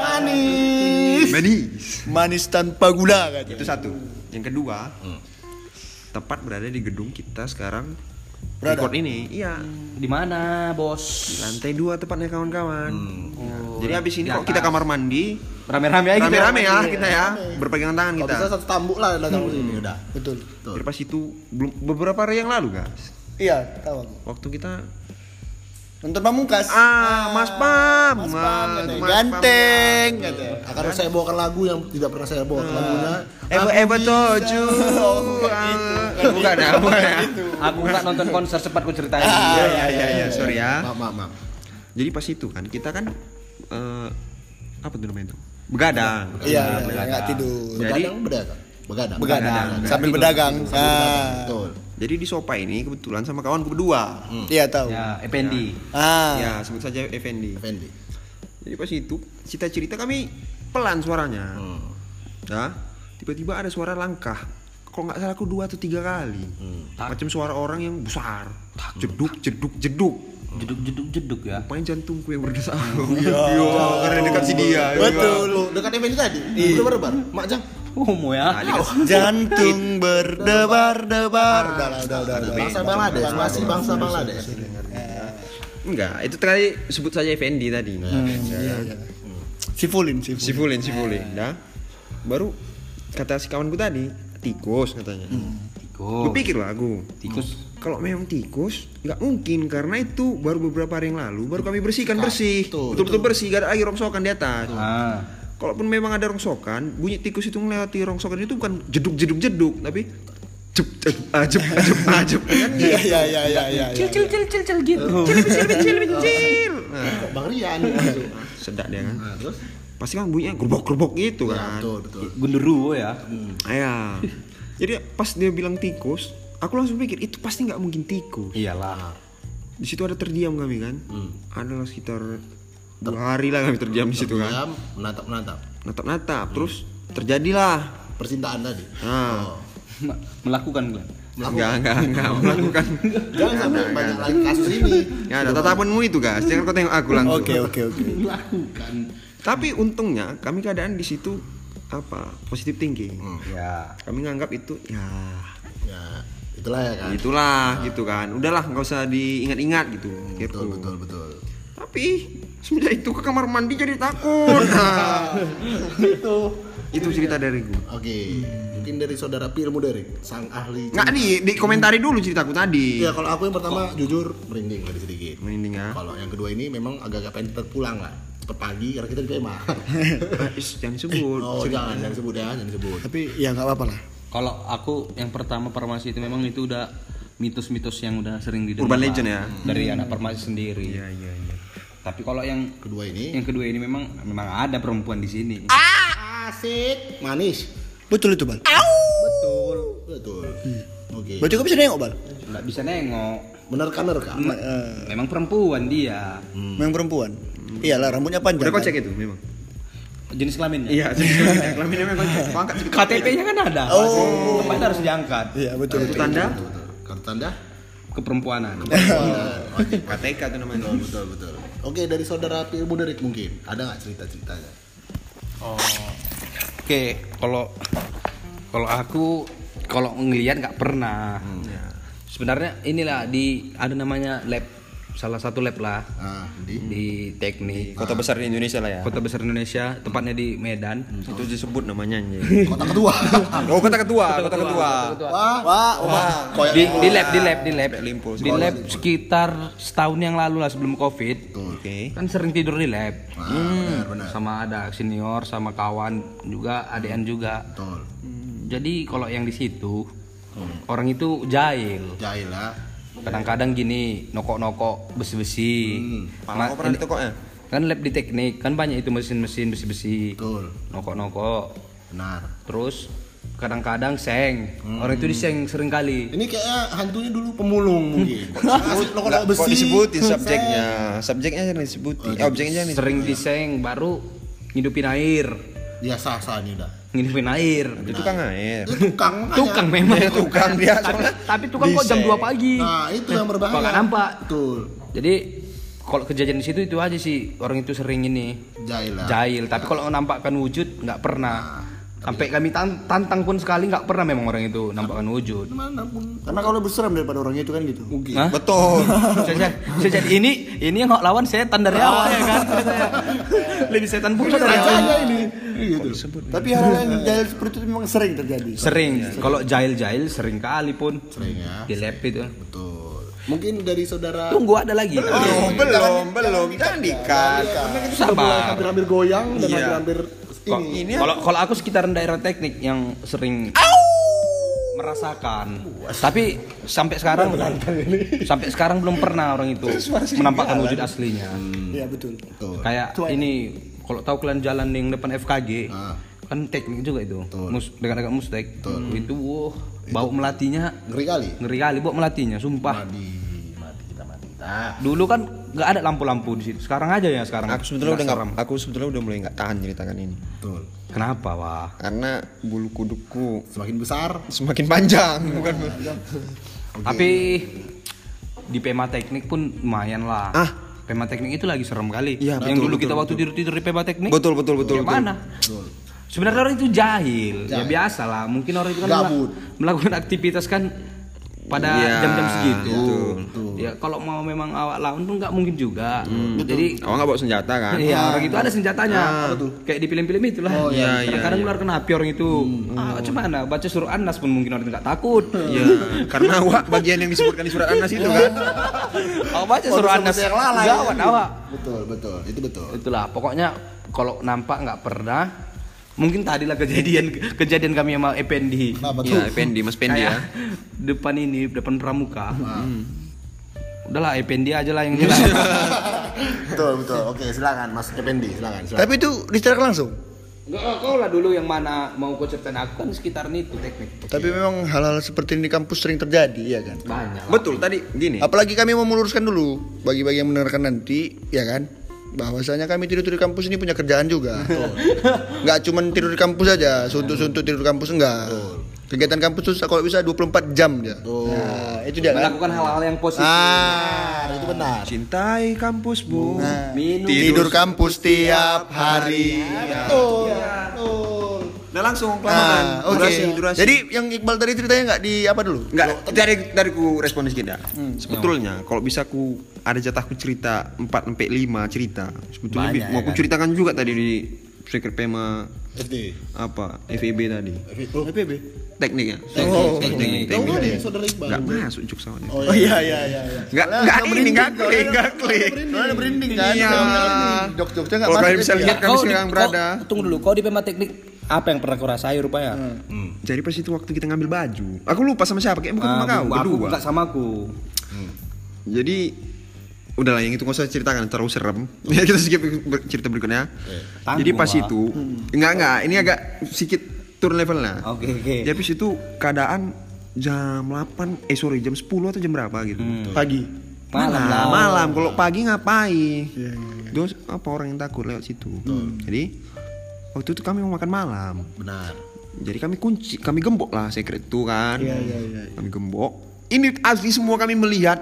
Speaker 5: Manis.
Speaker 1: Manis.
Speaker 5: Manis tanpa gula katanya.
Speaker 1: Itu satu. Yang kedua, tepat berada di gedung kita sekarang
Speaker 5: Berada.
Speaker 1: record ini. Iya.
Speaker 3: Di mana, Bos?
Speaker 1: Di lantai dua tepatnya kawan-kawan. Iya. Jadi habis ini kalau kita kamar mandi,
Speaker 3: Rame-rame aja gitu kita.
Speaker 1: rame-rame ya kita ya, berpegangan tangan
Speaker 2: Kalau
Speaker 1: kita. Hmm.
Speaker 2: bisa satu tambuk lah datang ke sini udah.
Speaker 5: Betul.
Speaker 2: Betul.
Speaker 1: Jadi pas itu belum beberapa hari yang lalu, guys.
Speaker 5: Iya, tahu aku.
Speaker 1: Waktu kita
Speaker 5: Nonton pamungkas.
Speaker 1: ah, Mas Pam, Ah, Mas-
Speaker 5: Mas Pam, katanya.
Speaker 1: Mas Pam.
Speaker 5: ganteng katanya. Iya,
Speaker 2: Akan saya bawakan lagu yang tidak pernah saya bawakan lagunya.
Speaker 1: Ever ever told you. Ah, [laughs] Bukan ya, bukan ya.
Speaker 3: Aku nggak nonton konser sempat ku ceritain.
Speaker 1: Iya, iya, iya, iya, sorry ya.
Speaker 2: Maaf, maaf, maaf.
Speaker 1: Jadi pas itu kan kita kan eh, apa tuh namanya itu? Begadang.
Speaker 5: Iya, iya, nggak tidur.
Speaker 1: Jadi-
Speaker 2: Begadang, begadang. Begadang.
Speaker 5: Begadang, sambil berdagang. Ah.
Speaker 2: Betul.
Speaker 1: Jadi di sofa ini kebetulan sama kawan berdua.
Speaker 5: Iya, tahu.
Speaker 3: Ya, Effendi.
Speaker 5: Ah.
Speaker 1: Ya, sebut saja Effendi.
Speaker 2: Fendi.
Speaker 1: Jadi pas itu cita cerita kami pelan suaranya.
Speaker 2: Hmm.
Speaker 1: Nah, tiba-tiba ada suara langkah. Kalau nggak salah aku dua atau tiga kali. Macam suara orang yang besar. Jeduk, jeduk, jeduk.
Speaker 3: Jeduk-jeduk-jeduk ya.
Speaker 1: Main jantungku yang berdesak. [laughs] Iya, karena dekat si dia. Iya.
Speaker 5: Betul.
Speaker 2: Lu dekat Fendi tadi. Belum berbar. Mak Jang.
Speaker 3: Homo
Speaker 1: Nah,
Speaker 3: ya.
Speaker 1: dikasih-
Speaker 5: Jantung berdebar-debar. Udah, lah, udah, udah, udah.
Speaker 2: Iya. Bangsa Bangladesh, masih bangsa Bangladesh.
Speaker 1: Enggak, itu tadi sebut saja Effendi tadi. Nah,
Speaker 5: Iya, iya. Sifulin, sifulin.
Speaker 1: Sifulin, sifulin, dah. Baru kata si kawanku tadi, tikus katanya. Lu
Speaker 3: Tikus.
Speaker 1: pikir lah aku.
Speaker 3: Tikus.
Speaker 1: Kalau memang tikus, nggak mungkin karena itu baru beberapa hari yang lalu baru kami bersihkan bersih, betul-betul bersih, gak ada lagi rongsokan di atas.
Speaker 3: Ah.
Speaker 1: Kalaupun memang ada rongsokan, bunyi tikus itu melewati rongsokan itu bukan jeduk jeduk jeduk, tapi jep jep ajep ajep ajep [laughs] kan
Speaker 5: Iya, iya, iya, iya, iya, iya.
Speaker 1: kecil kecil kecil. Nah,
Speaker 2: Bang Rian. Iya.
Speaker 1: sedak dia kan.
Speaker 2: Nah, terus?
Speaker 1: Pasti kan bunyinya gerbok gerbok gitu
Speaker 2: Ya,
Speaker 1: kan.
Speaker 2: betul, betul.
Speaker 3: Gunderuwo ya.
Speaker 1: Iya. Jadi pas dia bilang tikus, aku langsung pikir itu pasti nggak mungkin tikus.
Speaker 3: Iyalah.
Speaker 1: Di situ ada terdiam kami kan. Adalah sekitar dua hari lah kami terdiam di situ kan.
Speaker 2: Diam, menatap-menatap.
Speaker 1: Natap-natap terus terjadilah.
Speaker 2: Percintaan tadi.
Speaker 1: Nah,
Speaker 3: Ma- Ah, [laughs] Melakukan Glenn.
Speaker 1: enggak enggak enggak melakukan.
Speaker 2: Jangan sampai
Speaker 5: Iya,
Speaker 2: banyak lagi kasus ini.
Speaker 1: Ya, ada tatapanmu itu, guys. Jangan kau tengok aku langsung.
Speaker 5: Oke, oke, oke.
Speaker 3: Melakukan.
Speaker 1: Tapi untungnya kami keadaan di situ apa? Positif thinking.
Speaker 4: Hmm.
Speaker 3: Ya.
Speaker 1: Kami nganggap itu ya
Speaker 2: Ya, itulah ya kan.
Speaker 1: itulah gitu kan. Udahlah, nggak usah diingat-ingat gitu. Gitu.
Speaker 2: Betul, betul, betul.
Speaker 1: Tapi semenjak itu ke kamar mandi jadi [laughs] takut. Nah, itu cerita dari gue.
Speaker 2: Oke, mungkin dari saudara Pilmu Derek, sang ahli.
Speaker 1: Nggak nih, di komentari dulu ceritaku tadi.
Speaker 2: Ya kalau aku yang pertama jujur merinding tadi sedikit.
Speaker 1: Merinding [laughs] ya.
Speaker 2: Kalau yang kedua ini memang agak-agak pengen cepet pulang lah. Cepet pagi karena kita di PMA.
Speaker 1: Eh, ish, jangan disebut.
Speaker 2: oh jangan, jangan sebut ya, jangan sebut.
Speaker 5: Tapi ya nggak apa-apa lah.
Speaker 3: Kalau aku yang pertama farmasi itu memang itu udah mitos-mitos yang udah sering didengar. Hmm.
Speaker 1: Urban legend ya?
Speaker 3: Dari anak farmasi sendiri.
Speaker 1: Iya, iya, iya.
Speaker 3: Tapi kalau yang
Speaker 2: Kedua ini
Speaker 4: Iya.
Speaker 3: yang kedua ini memang memang ada perempuan di sini.
Speaker 2: Ah! asik, manis.
Speaker 5: Betul itu, Bal.
Speaker 2: Betul, betul. Oke.
Speaker 5: Berarti kau bisa nengok, Bal? eh,
Speaker 3: Nggak bisa nengok.
Speaker 2: Menerka-nerka.
Speaker 3: Me- memang perempuan dia.
Speaker 5: Yang perempuan. Iyalah, rambutnya panjang.
Speaker 1: Udah kau
Speaker 5: kan?
Speaker 1: cek ya? itu memang.
Speaker 3: Jenis kelaminnya.
Speaker 1: Iya, cek kelaminnya memang. Kau angkat sedikit.
Speaker 3: KTP-nya kan ada. Oh. Kemarin harus diangkat
Speaker 5: Iya, betul.
Speaker 1: Itu tanda
Speaker 2: Betul, betul. Kartu tanda?
Speaker 3: keperempuanan.
Speaker 1: Eh, KTK itu namanya.
Speaker 2: Betul, betul, betul. Oke, dari saudara Pilmu Derek mungkin ada nggak cerita-ceritanya?
Speaker 3: Oke, kalau
Speaker 4: Kalau aku kalau ngelihat nggak pernah.
Speaker 1: Hmm.
Speaker 4: Ya. Sebenarnya inilah di ada namanya lab salah satu lab lah
Speaker 2: Ah, di
Speaker 4: di
Speaker 1: Hmm.
Speaker 4: teknik
Speaker 1: Kota besar di Indonesia lah ya. Hmm.
Speaker 4: kota besar Indonesia tempatnya di Medan.
Speaker 1: Itu disebut namanya anjing.
Speaker 2: kota kedua.
Speaker 1: Oh, kota ketua, kota ketua.
Speaker 5: Wah, wah.
Speaker 1: Oh,
Speaker 2: Koyak
Speaker 1: iya.
Speaker 4: Di, di lab di lab di lab
Speaker 1: Limpul,
Speaker 4: di lab sekitar setahun yang lalu lah sebelum covid
Speaker 1: Oke.
Speaker 4: kan sering tidur di
Speaker 2: Nah,
Speaker 4: lab
Speaker 2: benar benar.
Speaker 4: sama ada senior sama kawan juga adean juga
Speaker 2: Betul.
Speaker 1: Hmm.
Speaker 4: Jadi kalau yang di situ orang itu jahil.
Speaker 2: Jahil lah.
Speaker 4: Kadang-kadang gini nokok-nokok besi-besi.
Speaker 1: Pala
Speaker 4: Ma-
Speaker 1: kau Hmm, Oh, pernah ya?
Speaker 4: ini-
Speaker 1: ditokoknya?
Speaker 4: kan lab di teknik kan banyak itu mesin-mesin besi-besi.
Speaker 2: Betul.
Speaker 4: Nokok-nokok.
Speaker 2: Benar.
Speaker 4: Terus kadang-kadang seng.
Speaker 1: Hmm.
Speaker 4: Orang itu diseng sering kali.
Speaker 2: Ini kayaknya hantunya dulu pemulung
Speaker 5: [laughs]
Speaker 2: mungkin. Asli, lo kalau
Speaker 1: Nggak,
Speaker 2: besi.
Speaker 1: Kok disebutin subjeknya? Subjeknya jangan disebutin. Eh, objeknya jangan disebutin.
Speaker 4: Sering diseng baru ngidupin air.
Speaker 2: Dia sah-sah nih dah.
Speaker 4: Ngidupin air.
Speaker 1: Itu kan tukang air.
Speaker 2: Itu tukang makanya.
Speaker 4: Tukang memang.
Speaker 1: Iya, tukang dia,
Speaker 4: Tapi,
Speaker 1: soalnya
Speaker 4: tapi tukang kok jam
Speaker 1: diseng.
Speaker 4: 2 pagi.
Speaker 2: Nah, itu yang berbahaya.
Speaker 4: Kok nggak nampak?
Speaker 2: Betul.
Speaker 4: Jadi kalau kejadian di situ itu aja sih orang itu sering ini
Speaker 2: Jahil lah.
Speaker 4: jahil tapi kalau nampakkan wujud nggak pernah sampai kami tan- tantang pun sekali nggak pernah memang orang itu nampakkan wujud
Speaker 2: Mana pun
Speaker 5: Karena kau lebih serem daripada orangnya itu kan gitu.
Speaker 2: mungkin.
Speaker 4: Hah?
Speaker 1: Betul.
Speaker 4: Bisa jadi- bisa jadi ini ini yang kau lawan setan
Speaker 2: Ah.
Speaker 4: dari awal ya kan lebih setan pun dari awal
Speaker 5: Rajanya ini.
Speaker 2: Gitu.
Speaker 5: Tapi hal yang jahil seperti itu memang sering terjadi.
Speaker 4: sering kalau jahil jahil sering kali pun
Speaker 2: Sering ya.
Speaker 4: di lab itu
Speaker 2: Betul. Mungkin dari saudara
Speaker 4: tunggu ada lagi
Speaker 1: belum, belum, belum. Jangan dikat.
Speaker 4: sabar
Speaker 5: Hampir-hampir goyang dan
Speaker 1: Iya.
Speaker 5: hampir-hampir
Speaker 4: Kok-
Speaker 5: ini.
Speaker 1: Ini
Speaker 4: kalau kalau aku sekitaran daerah teknik yang sering merasakan tapi sampai sekarang sampai sekarang belum pernah orang itu menampakkan wujud aslinya
Speaker 5: Iya betul.
Speaker 2: Betul.
Speaker 4: kayak
Speaker 5: Itu aja.
Speaker 4: ini kalau tahu kalian jalan yang depan FKG
Speaker 2: Ah.
Speaker 4: kan teknik juga itu mus dengan agak mustek itu wow, bau melatinya
Speaker 2: ngeri kali.
Speaker 4: ngeri kali bau melatinya sumpah
Speaker 2: Mati, mati kita mati. Nah,
Speaker 4: dulu kan nggak ada lampu-lampu di situ sekarang aja ya sekarang
Speaker 1: aku sebetulnya udah
Speaker 4: Nggak
Speaker 1: nggak, aku sebetulnya udah mulai nggak tahan ceritakan ini.
Speaker 2: betul.
Speaker 4: serem. kenapa wah
Speaker 1: Karena bulu kudukku
Speaker 2: Semakin besar
Speaker 1: semakin panjang, bukan?
Speaker 4: Tapi di Pema Teknik pun lumayan lah.
Speaker 1: Ah.
Speaker 4: Pema Teknik itu lagi serem kali.
Speaker 1: Iya, betul,
Speaker 4: Yang dulu
Speaker 1: betul,
Speaker 4: kita waktu tidur-tidur di Pema Teknik.
Speaker 1: Betul, betul, betul, betul.
Speaker 4: Gimana? Sebenarnya orang itu jahil. Ya biasa lah. Mungkin orang itu kan mela-
Speaker 2: Gabut.
Speaker 4: melakukan aktivitas kan pada
Speaker 1: Iya,
Speaker 4: jam-jam segitu.
Speaker 1: betul, Hmm.
Speaker 4: Ya kalau mau memang awak lawan pun nggak mungkin juga. Jadi
Speaker 1: Awak nggak bawa senjata kan? Ah.
Speaker 4: Iya, orang itu ada senjatanya. Kayak di film-film itulah.
Speaker 1: Oh, iya, iya, iya.
Speaker 4: Kadang-kadang
Speaker 1: Hmm,
Speaker 4: keluar kena api orang itu. Ah, cuman nah, baca suruh Anas pun mungkin orang itu nggak takut.
Speaker 1: [laughs] Iya, karena awak bagian yang disebutkan di surat Anas itu kan.
Speaker 4: Awak baca
Speaker 1: Oh,
Speaker 4: suruh Anas. Gawat awak.
Speaker 2: betul betul itu
Speaker 4: [laughs]
Speaker 2: betul
Speaker 4: Itulah, pokoknya kalau nampak nggak pernah. Mungkin tadilah kejadian kejadian kami sama Ependi.
Speaker 1: Iya, Pendi, Mas Pendi ya. Ah.
Speaker 4: Kayak depan ini, depan pramuka. Udahlah Ependi aja
Speaker 1: [laughs]
Speaker 4: lah yang jelas.
Speaker 2: betul betul oke silakan mas Kependi silakan silakan
Speaker 5: Tapi itu dicetak langsung.
Speaker 4: Enggak, kau lah dulu yang mana mau kau ceritain aku kan sekitaran itu teknik.
Speaker 5: Tapi memang hal-hal seperti ini di kampus sering terjadi, ya kan?
Speaker 4: Banyak.
Speaker 1: Betul tadi gini.
Speaker 5: Apalagi kami mau meluruskan dulu bagi bagi yang mendengarkan nanti, ya kan? Bahwasanya kami tidur tidur di kampus ini punya kerjaan juga. Nggak cuman tidur di kampus aja, suntuk-suntuk tidur di kampus enggak. Kegiatan kampus tuh kalau bisa 24 jam dia. Nah, itu dia kan.
Speaker 4: melakukan hal-hal yang positif.
Speaker 5: Ah,
Speaker 2: itu benar
Speaker 1: Cintai kampusmu.
Speaker 4: Minum.
Speaker 5: tidur kampus tiap hari.
Speaker 1: Udah langsung kelamaan.
Speaker 5: Nah, oke.
Speaker 1: Durasi, durasi.
Speaker 5: Jadi yang Iqbal tadi ceritanya nggak di apa dulu?
Speaker 1: Enggak, dari dari ku respon sedikit dah. Sebetulnya kalau bisa ku ada jatahku cerita 4 sampai 5 cerita. Sebetulnya bi- mau ku ceritakan juga tadi di Secret Pema
Speaker 2: FD
Speaker 1: apa FEB tadi.
Speaker 2: oh FB
Speaker 1: Tekniknya.
Speaker 5: Oh,
Speaker 1: Teknik, teknik.
Speaker 2: tahu kan ya saudara Iqbal
Speaker 1: Enggak masuk juk sama dia.
Speaker 5: oh iya iya iya. iya.
Speaker 1: Enggak enggak ini enggak klik, enggak klik.
Speaker 5: Soalnya berinding kan?
Speaker 1: Iya.
Speaker 5: Jok-joknya nggak
Speaker 1: Kalau
Speaker 5: masuk.
Speaker 1: kalian bisa
Speaker 5: itu ya.
Speaker 1: lihat kami
Speaker 6: Kau di-
Speaker 1: sekarang berada.
Speaker 6: kau- tunggu dulu, kau di Pema Teknik apa yang pernah kau rasai rupanya?
Speaker 1: Hmm. Jadi pas itu waktu kita ngambil baju, aku lupa sama siapa, kayaknya bukan sama kau,
Speaker 4: Ah, aku
Speaker 1: berdua.
Speaker 4: bukan sama aku.
Speaker 1: Jadi udahlah yang itu nggak usah ceritakan terlalu serem. [laughs] Ya, kita skip ber- cerita berikutnya.
Speaker 4: Eh, Tanggung,
Speaker 1: Jadi pas
Speaker 4: Pak.
Speaker 1: itu enggak enggak ini agak sedikit turun levelnya.
Speaker 4: Oke, oke.
Speaker 1: Jadi pas itu keadaan jam 8 eh sorry jam 10 atau jam berapa gitu.
Speaker 5: Pagi.
Speaker 1: Malam,
Speaker 4: Hmm, Malam lah. Iya,
Speaker 1: malam. Kalau pagi ngapain? Terus apa orang yang takut lewat situ. Jadi waktu itu kami mau makan malam.
Speaker 2: benar
Speaker 1: Jadi kami kunci, kami gembok lah secret itu kan.
Speaker 5: Iya, iya, iya.
Speaker 1: Kami gembok. Ini asli semua kami melihat.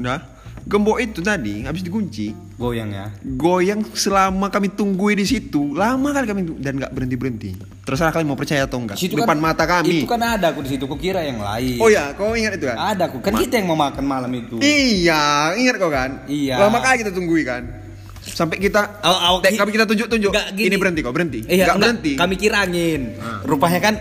Speaker 1: Nah, gembok itu tadi habis dikunci
Speaker 4: Goyang ya.
Speaker 1: goyang selama kami tunggu di situ lama kali kami tunggu, dan nggak berhenti berhenti terserah kalian mau percaya atau enggak
Speaker 4: Di situ
Speaker 1: depan
Speaker 4: kan-
Speaker 1: mata kami
Speaker 4: Itu kan ada aku di situ, aku kira yang lain.
Speaker 1: oh ya kau ingat itu kan
Speaker 4: Ada aku, kan kita yang mau makan malam itu.
Speaker 1: iya ingat kau kan
Speaker 4: Iya.
Speaker 1: lama kali kita tungguin kan sampai kita
Speaker 4: Aw- aw-
Speaker 1: Tek, kami kita tunjuk tunjuk
Speaker 4: Nggak, gini.
Speaker 1: ini berhenti kau berhenti
Speaker 4: Iya,
Speaker 1: nggak
Speaker 4: enggak,
Speaker 1: berhenti Hmm.
Speaker 4: Kami kira angin. Rupanya kan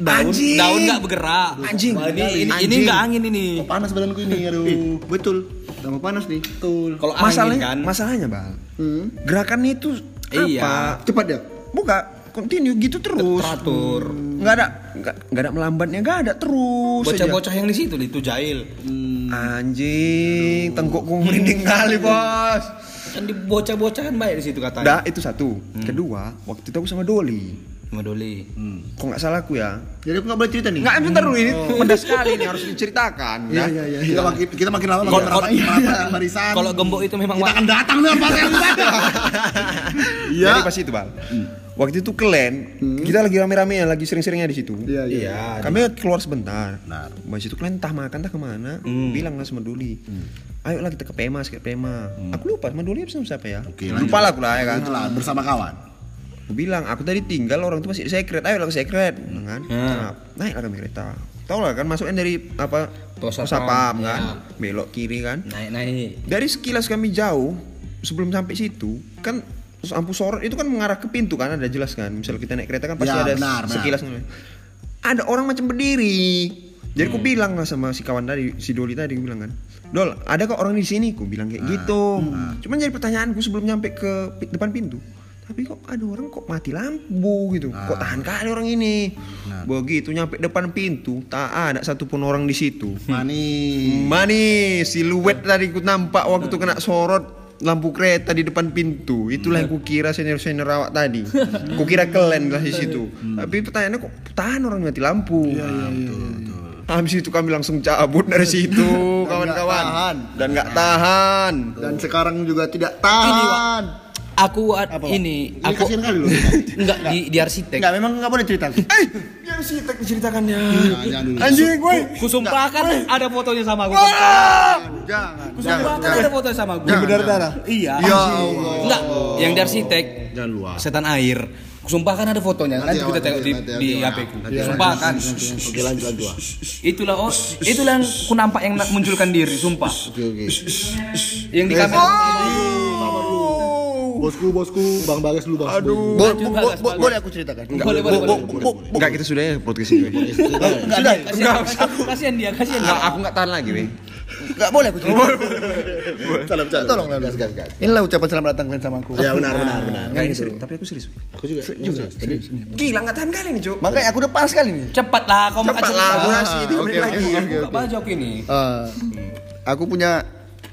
Speaker 4: daun
Speaker 1: Anjing.
Speaker 4: daun nggak bergerak.
Speaker 1: Anjing.
Speaker 4: Wah, ini ini, ini
Speaker 1: Anjing.
Speaker 4: nggak angin ini.
Speaker 2: Oh, panas badanku ini, aduh.
Speaker 5: Betul. Tambah panas nih.
Speaker 2: Betul.
Speaker 4: Kalau angin
Speaker 1: masalahnya
Speaker 4: kan.
Speaker 1: masalahnya bang
Speaker 5: Hmm.
Speaker 1: gerakannya itu apa
Speaker 4: Iya.
Speaker 5: Cepat ya.
Speaker 1: buka continue gitu terus
Speaker 4: Teratur.
Speaker 1: nggak ada nggak, nggak ada melambatnya nggak ada terus aja.
Speaker 4: Bocah-bocah yang di situ itu jahil.
Speaker 1: Hmm. anjing tengkukku merinding
Speaker 4: Hmm.
Speaker 1: kali bos
Speaker 4: Kan di bocah-bocah kan baik di situ katanya.
Speaker 1: dah itu satu
Speaker 4: Hmm.
Speaker 1: kedua waktu itu aku sama Doli
Speaker 4: Modoli.
Speaker 1: kok nggak salah aku ya
Speaker 4: Hmm.
Speaker 5: Jadi aku nggak boleh cerita nih.
Speaker 1: nggak bentar dulu ini
Speaker 4: Oh.
Speaker 1: pedas sekali nih harus diceritakan
Speaker 5: Iya
Speaker 1: ya
Speaker 5: iya iya.
Speaker 2: Kita
Speaker 5: iya.
Speaker 2: makin kita makin lama makin
Speaker 4: Kalau-
Speaker 2: merapati
Speaker 4: kalau-
Speaker 2: merapati barisan.
Speaker 4: Kalau gembok itu memang
Speaker 2: kita
Speaker 4: wa-
Speaker 2: akan datang dengan apa yang ada. Iya. Hmm.
Speaker 1: jadi pas itu bang waktu itu kelen kita lagi rame-rame ya lagi sering-seringnya di situ
Speaker 5: Iya iya.
Speaker 1: kami keluar sebentar
Speaker 2: Benar.
Speaker 1: Mas itu kalian entah makan entah kemana bilang lah sama Duli
Speaker 2: Hmm.
Speaker 1: ayo lah kita ke Pema ke Pema aku lupa sama Duli apa sama siapa ya
Speaker 2: Oke, lanjut.
Speaker 1: lupa lah aku lah ya kan
Speaker 2: Itulah bersama kawan.
Speaker 1: aku bilang aku tadi tinggal orang itu masih di secret ayo lah ke secret Bilang kan nah, naik lah kami kereta tau lah kan masuknya dari apa
Speaker 4: Tosapam.
Speaker 1: Tosapam kan
Speaker 4: Ya.
Speaker 1: belok kiri kan
Speaker 4: Naik-naik.
Speaker 1: dari sekilas kami jauh sebelum sampai situ kan lampu sorot itu kan mengarah ke pintu kan ada jelas kan misal kita naik kereta kan pasti
Speaker 2: Ya,
Speaker 1: ada
Speaker 2: benar, benar.
Speaker 1: sekilas ngeliat. ada orang macam berdiri jadi aku
Speaker 2: Hmm.
Speaker 1: bilang lah sama si kawan tadi si Doli tadi aku bilang kan Dol ada kok orang di sini aku bilang
Speaker 2: Ah,
Speaker 1: kayak gitu cuman jadi pertanyaanku sebelum nyampe ke pi- depan pintu tapi kok ada orang kok mati lampu gitu
Speaker 2: Ah.
Speaker 1: kok tahan kali orang ini begitu nyampe depan pintu tak ada satupun orang di situ
Speaker 2: Mani.
Speaker 1: Manis, siluet tadi ku nampak waktu kena sorot lampu kereta di depan pintu. Itulah yang kukira senior-senior awak tadi. Kukira kelen lah di situ. Tapi pertanyaannya kok tahan orang mati lampu. Habis itu kami langsung cabut dari situ kawan-kawan
Speaker 5: tahan.
Speaker 1: dan nggak tahan.
Speaker 5: Dan sekarang juga tidak tahan.
Speaker 4: Aku ad- ini
Speaker 2: Ini
Speaker 4: aku
Speaker 2: kasihan kali
Speaker 4: [laughs]
Speaker 2: loh.
Speaker 4: enggak di di arsitek.
Speaker 5: Enggak memang nggak boleh cerita.
Speaker 1: Eh, yang sih tak menceritakannya.
Speaker 2: Nah, jangan dulu.
Speaker 1: Anjing gue.
Speaker 4: Kusumpahkan ada fotonya sama aku.
Speaker 5: Jangan.
Speaker 4: Kusumpahkan ada fotonya sama aku.
Speaker 5: Benar
Speaker 1: Nah.
Speaker 5: darah.
Speaker 4: Iya.
Speaker 5: Ya Allah.
Speaker 4: Enggak, yang di arsitek
Speaker 2: Jangan luar.
Speaker 4: setan air. Sumpah kan ada fotonya. Nanti, kita tengok di, di HP ku. Sumpah kan.
Speaker 2: Oke lanjut lanjut.
Speaker 4: Itulah oh, itulah yang ku nampak yang na- munculkan diri, sumpah.
Speaker 2: Oke oke.
Speaker 4: Yang di kamera.
Speaker 2: Bosku bosku Bang Bagas lu bang. Aduh.
Speaker 5: Bo- bo- bo- bo- Boleh aku ceritakan?
Speaker 4: Boleh, boleh, boleh.
Speaker 1: Enggak kita sudah ya podcast ini.
Speaker 4: Enggak, enggak, kasihan, kasihan- kasihan dia, kasihan dia.
Speaker 1: Enggak, aku nggak tahan lagi, weh.
Speaker 5: Enggak boleh aku cerita.
Speaker 2: Salam salam.
Speaker 5: Tolong lah.
Speaker 2: Gas gas gas.
Speaker 5: Inilah ucapan selamat datang friend sama aku.
Speaker 2: Ya benar benar benar.
Speaker 1: Enggak Nah, ini serius, tapi aku serius. weh.
Speaker 2: Aku juga. Juga.
Speaker 1: Gila, nggak tahan kali nih, Cuk.
Speaker 5: Makanya aku udah panas kali nih.
Speaker 4: Cepatlah kau makan
Speaker 1: Cepat lah,
Speaker 4: cepat.
Speaker 1: durasi 3 menit lagi.
Speaker 4: Buka baju aku ini.
Speaker 5: Eh, aku punya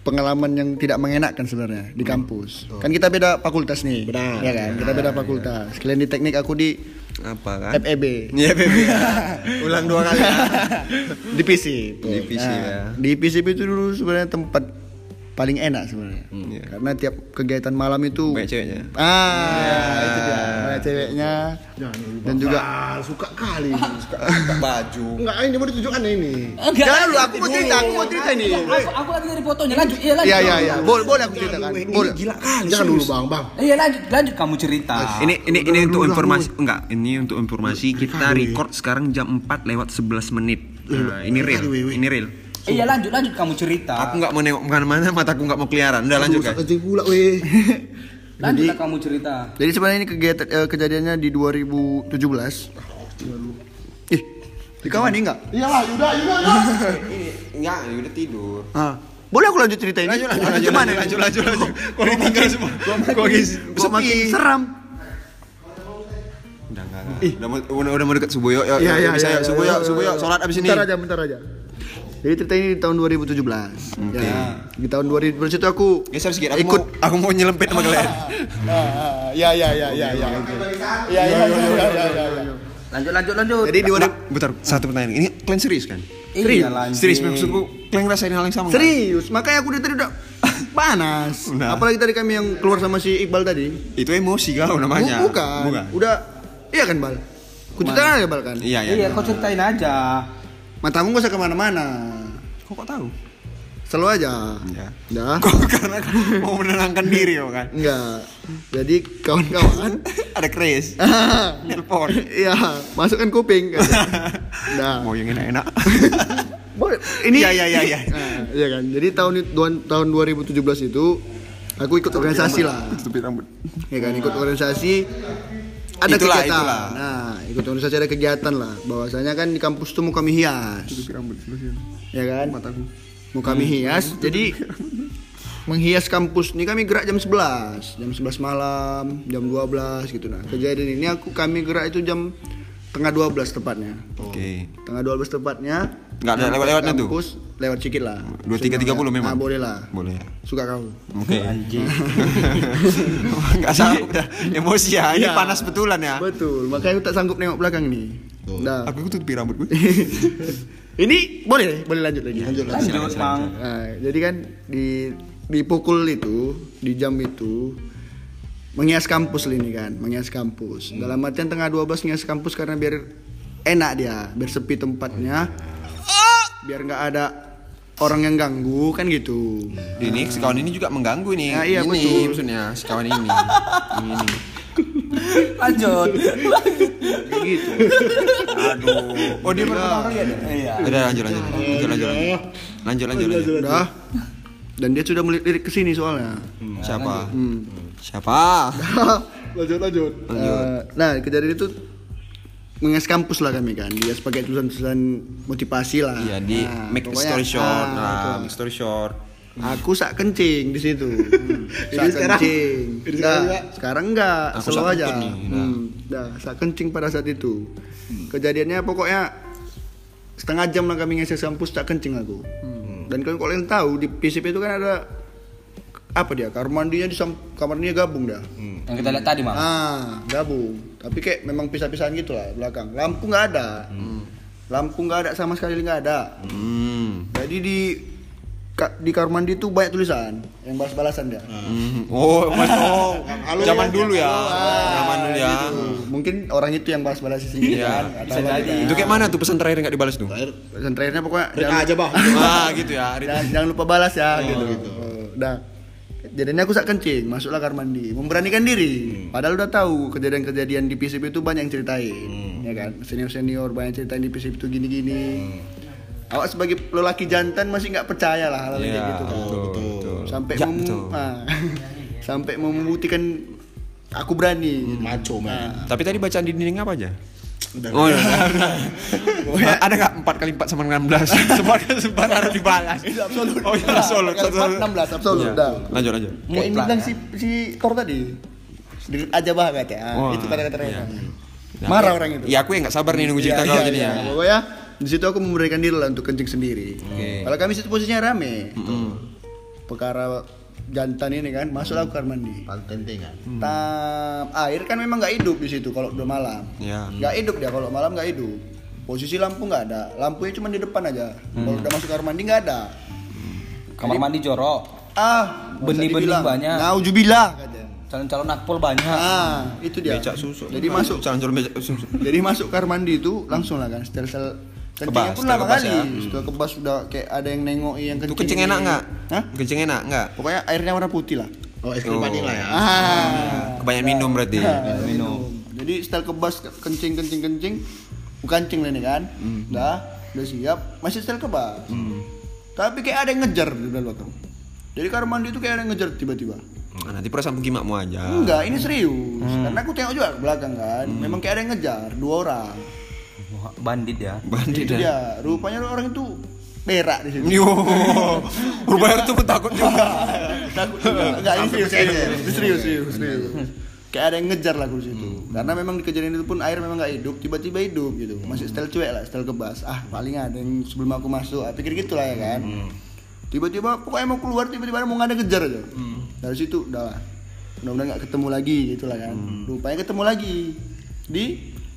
Speaker 5: pengalaman yang tidak mengenakan sebenarnya di kampus. Kan kita beda fakultas nih.
Speaker 2: Benar.
Speaker 5: Ya kan? Kita beda fakultas. Kalian di teknik, aku di E
Speaker 1: Apa kan?
Speaker 5: FEB.
Speaker 1: Iya, Beb. Ulang dua kali. ya.
Speaker 5: Di PC.
Speaker 1: Di PC, ya.
Speaker 5: Nah, Di PC itu dulu sebenarnya tempat paling enak sebenarnya.
Speaker 1: Iya.
Speaker 5: Karena tiap kegiatan malam itu
Speaker 1: Banyak ceweknya.
Speaker 5: Ah, itu dia. Banyak ceweknya. Dan juga
Speaker 2: Ah, suka kali. Suka.
Speaker 1: Baju.
Speaker 2: Enggak ini mau ditunjukkan ini.
Speaker 4: Enggak.
Speaker 5: Jangan dulu, aku mau cerita, aku mau cerita nih.
Speaker 4: Aku, aku lagi dari fotonya. Lanjut, iya lanjut.
Speaker 5: Iya, iya, iya. Boleh, boleh aku ceritakan. Boleh.
Speaker 2: Jangan dulu Bang Bang.
Speaker 4: Iya lanjut, lanjut kamu cerita.
Speaker 1: Ini ini ini untuk informasi enggak, ini untuk informasi kita record sekarang jam 4 lewat 11 menit. Nah, ini real. Ini real.
Speaker 4: Iya lanjut, lanjut kamu cerita.
Speaker 1: Aku nggak mau nengok kemana-mana, mataku nggak mau keliaran. Udah lanjut
Speaker 2: Rusak
Speaker 1: guys.
Speaker 2: kencing pula weh.
Speaker 4: Lanjutlah kamu cerita.
Speaker 5: Jadi sebenarnya ini kegiatan eh, kejadiannya di 2017. Ih, di kawan ini enggak?
Speaker 2: Iyalah, Yuda, Yuda, Yuda.
Speaker 1: Ini enggak, ya udah tidur.
Speaker 5: Ah. Boleh aku lanjut cerita ini?
Speaker 1: Lanjut lanjut lanjut lanjut
Speaker 5: Gimana ini?
Speaker 1: lanjut lanjut lanjut. [laughs] Kok ditinggal semua. Kok Iya. guys
Speaker 5: Kok makin seram?
Speaker 1: Udah enggak. Udah mau udah- udah mau dekat subuh yuk. yuk,
Speaker 5: Iya,
Speaker 1: yuk,
Speaker 5: iya,
Speaker 1: bisa
Speaker 5: iya,
Speaker 1: yuk. Subuh
Speaker 5: iya,
Speaker 1: yuk,
Speaker 5: iya,
Speaker 1: subuh
Speaker 5: iya.
Speaker 1: yuk. Salat abis ini.
Speaker 5: Bentar aja, bentar aja. Jadi cerita ini di tahun 2017. Ya. Di tahun 2017 itu aku
Speaker 1: Geser sedikit. Ya, Aku
Speaker 5: ikut
Speaker 1: mau aku mau nyelempit sama kalian.
Speaker 5: Ya ya ya ya ya. Ya ya ya ya ya.
Speaker 4: Lanjut, lanjut, lanjut.
Speaker 5: Jadi di
Speaker 1: Bentar, bentar, satu pertanyaan. Ini kalian serius kan?
Speaker 4: Iya lanjut.
Speaker 1: Serius maksudku, kalian ngerasain hal yang sama nggak?
Speaker 5: Oh, serius, makanya aku dari tadi udah [laughs] panas.
Speaker 1: Nah.
Speaker 5: Apalagi tadi kami yang keluar sama si Iqbal tadi.
Speaker 1: Itu emosi kau namanya.
Speaker 5: Bu- Bukan. Udah iya kan, Bal? Aku cerita ya, Bal kan?
Speaker 1: Iya, iya.
Speaker 4: Iya, kau ceritain aja.
Speaker 5: Matamu gak usah kemana-mana
Speaker 1: Kok kok tahu? [laughs]
Speaker 5: selalu aja ya
Speaker 1: karena mau menenangkan diri ya kan
Speaker 5: enggak jadi kawan-kawan [laughs]
Speaker 1: ada kris telepon
Speaker 5: Iya, masukkan kuping. Nah,
Speaker 1: mau yang enak-enak
Speaker 5: boleh. Ini
Speaker 1: Iya, iya, iya, iya.
Speaker 5: Nah, [laughs] iya kan. Jadi tahun itu- duan- tahun 2017 itu aku ikut organisasi lah.
Speaker 1: tutupi rambut
Speaker 5: Ya kan, ikut organisasi ada
Speaker 1: Itulah,
Speaker 5: kegiatan.
Speaker 1: itulah.
Speaker 5: Nah, ikut organisasi ada kegiatan lah. Bahwasanya kan di kampus tuh mau kami hias.
Speaker 1: tutupi rambut sebelah sini. Hmm.
Speaker 5: Ya kan?
Speaker 1: mataku
Speaker 5: Mau kami hias. Jadi menghias kampus ini kami gerak jam 11 jam 11 malam jam 12 gitu nah kejadian ini aku kami gerak itu jam tengah 12 tepatnya
Speaker 1: oke
Speaker 5: tengah 12 tepatnya
Speaker 1: Nggak ada
Speaker 5: Sampai
Speaker 1: lewat-lewatnya tuh?
Speaker 5: kampus, lewat sedikit lah
Speaker 1: dua tiga tiga puluh memang
Speaker 5: nah, boleh lah
Speaker 1: boleh ya
Speaker 5: suka kau
Speaker 1: [laughs]
Speaker 5: [laughs] Iya.
Speaker 1: Oke. Anjing. Enggak salah udah emosi ya. Ini
Speaker 5: Iya.
Speaker 1: panas betulan ya. Oh.
Speaker 5: betul makanya aku tak sanggup nengok belakang ini nah
Speaker 1: Aku tutupi rambut gue.
Speaker 5: [laughs] ini boleh boleh lanjut lagi
Speaker 2: Lanjut lah.
Speaker 3: Lanjut, Mang.
Speaker 5: Nah, jadi kan di dipukul itu di jam itu menghias kampus lah ini kan menghias kampus
Speaker 1: Hmm.
Speaker 5: dalam artian tengah 12 menghias kampus karena biar enak dia biar sepi tempatnya biar nggak ada orang yang ganggu kan gitu
Speaker 1: ini si kawan ini juga mengganggu nih.
Speaker 5: Ya, iya,
Speaker 1: ini
Speaker 5: betul.
Speaker 1: maksudnya si kawan ini. ini. nih.
Speaker 4: Lanjut.
Speaker 5: Kayak gitu
Speaker 1: Aduh. Oh dia baru pertama kali ya.
Speaker 4: Iya.
Speaker 1: Udah lanjut lanjut. Lanjut lanjut. Lanjut lanjut. lanjut.
Speaker 5: udah dan dia sudah melirik ke sini soalnya
Speaker 1: [laughs] Siapa? Siapa?
Speaker 5: lanjut lanjut nah kejadian itu menges kampus lah kami kan dia sebagai tulisan-tulisan motivasi lah
Speaker 1: Iya di
Speaker 5: Nah,
Speaker 1: make the
Speaker 5: pokoknya,
Speaker 1: story short.
Speaker 5: ah,
Speaker 1: Nah,
Speaker 5: betul.
Speaker 1: make story short.
Speaker 5: Aku sak kencing di situ. Hmm. sak kencing. Sekarang, sekarang enggak,
Speaker 1: Aku
Speaker 5: slow
Speaker 1: sak
Speaker 5: aja.
Speaker 1: kentut nih, nah.
Speaker 5: Hmm, dah, sak kencing pada saat itu. Hmm. Kejadiannya pokoknya setengah jam lah kami ngecek kampus sak kencing aku. Dan kalau kalian tahu di PCP itu kan ada apa dia? Kamar mandinya di sam- kamar mandinya gabung dah.
Speaker 4: Yang kita lihat tadi, Mang.
Speaker 5: Ah, gabung. Tapi kayak memang pisah-pisahan gitu lah belakang. Lampu nggak ada. Lampu nggak ada sama sekali nggak ada.
Speaker 1: Hmm.
Speaker 5: Jadi di ka- di kamar mandi tuh banyak tulisan yang balas-balasan dia.
Speaker 1: Hmm. Oh, oh. zaman dulu ya. Zaman dulu ya.
Speaker 5: Gitu. Mungkin orang itu yang balas-balas sendiri
Speaker 1: Iya,
Speaker 5: kan. Atau apa gitu.
Speaker 1: Itu kayak mana tuh pesan terakhir nggak dibalas tuh?
Speaker 2: Terakhir
Speaker 5: Pesan terakhirnya pokoknya
Speaker 2: mereka
Speaker 5: jangan,
Speaker 2: aja bah.
Speaker 1: Ah, gitu ya. Rit.
Speaker 5: jangan, jangan lupa balas ya gitu. Oh, Dah. Jadinya aku sak kencing, masuklah kamar mandi, memberanikan diri. Padahal udah tahu kejadian-kejadian di PCB itu banyak yang ceritain, ya kan? Senior-senior banyak ceritain di PCB itu gini-gini. Awak sebagai lelaki jantan masih nggak percaya lah hal-hal kayak gitu kan. sampai
Speaker 1: Ya,
Speaker 5: mem-
Speaker 1: betul.
Speaker 5: ah, sampai mau membuktikan aku berani gitu.
Speaker 2: Maco man.
Speaker 1: Tapi tadi bacaan di dinding apa aja? Oh iya. Nah, ada nggak empat kali empat sama enam belas? Semua [laughs] sempat harus dibalas.
Speaker 5: absolut.
Speaker 1: Oh iya absolut.
Speaker 5: Empat kali empat, 16 absolut.
Speaker 1: Iya.
Speaker 5: Dah.
Speaker 1: Lanjut lanjut.
Speaker 5: Kayak ini
Speaker 4: ya.
Speaker 5: bilang si si Thor tadi. Sedikit aja banget ya.
Speaker 1: Wah,
Speaker 5: itu kata-kata mereka.
Speaker 1: Nah,
Speaker 5: Marah
Speaker 1: ya-
Speaker 5: orang itu. Iya,
Speaker 1: Ya aku yang nggak sabar nih nunggu cerita kau jadi ya.
Speaker 5: Pokoknya di situ aku memberikan diri lah untuk kencing sendiri. Kalau kami situ posisinya rame. Perkara jantan ini kan masuk aku kamar mandi.
Speaker 2: Pantentingan.
Speaker 5: Tam air kan memang nggak hidup di situ kalau udah malam.
Speaker 1: Ya.
Speaker 5: Nggak hidup dia kalau malam nggak hidup. Posisi lampu nggak ada. Lampunya cuma di depan aja. Kalau
Speaker 1: Mm.
Speaker 5: udah masuk kamar mandi nggak ada.
Speaker 4: Kamar mandi jorok.
Speaker 5: Ah,
Speaker 4: Benih-benih banyak.
Speaker 5: Naujubillah katanya.
Speaker 4: Calon-calon nakpol banyak.
Speaker 5: Ah, itu dia.
Speaker 1: Becak susu.
Speaker 5: Jadi masuk
Speaker 1: calon calon becak susu.
Speaker 5: jadi masuk kamar mandi itu langsung lah kan setel sel kencingnya
Speaker 1: Kebas,
Speaker 5: pun lama
Speaker 1: setel kebas
Speaker 5: kali.
Speaker 1: ya.
Speaker 5: Sudah kebas sudah kayak ada yang nengok yang
Speaker 1: Itu
Speaker 5: kencing.
Speaker 1: kencing enak nggak?
Speaker 5: Hah?
Speaker 1: Kencing enak nggak?
Speaker 5: Pokoknya airnya warna putih lah.
Speaker 2: Oh, es krim
Speaker 1: Oh.
Speaker 2: vanilla ya.
Speaker 5: Ah.
Speaker 1: Kebanyakan minum berarti.
Speaker 5: Nah, minum. Jadi setel kebas ke- kencing kencing kencing, kencing lah ini kan.
Speaker 1: Hmm.
Speaker 5: Dah, udah siap, masih setel kebas. Tapi kayak ada yang ngejar di dalam belakang. Jadi kamar mandi itu kayak ada yang ngejar tiba-tiba.
Speaker 1: Nah, nanti perasaan gimakmu aja.
Speaker 5: Enggak, ini serius. Karena aku tengok juga ke belakang kan. Memang kayak ada yang ngejar dua orang.
Speaker 4: Wah, Bandit ya.
Speaker 1: Bandit
Speaker 5: Itu
Speaker 1: ya.
Speaker 5: dia. Rupanya orang itu berak di situ.
Speaker 1: Yo, rupanya Oh. tuh aku takut juga.
Speaker 5: [laughs] Takut juga. Enggak, ini serius, serius, serius, serius, serius. Kayak ada yang ngejar lah aku di situ. Karena memang di kejadian itu pun air memang nggak hidup, tiba-tiba hidup gitu. Masih style cuek lah, style kebas. Ah, paling ada yang sebelum aku masuk, ah, pikir gitu lah ya kan. Tiba-tiba pokoknya mau keluar tiba-tiba mau nggak ada ngejar aja. Dari situ udah lah. Mudah-mudahan nggak ketemu lagi gitu lah kan. Rupanya ketemu lagi di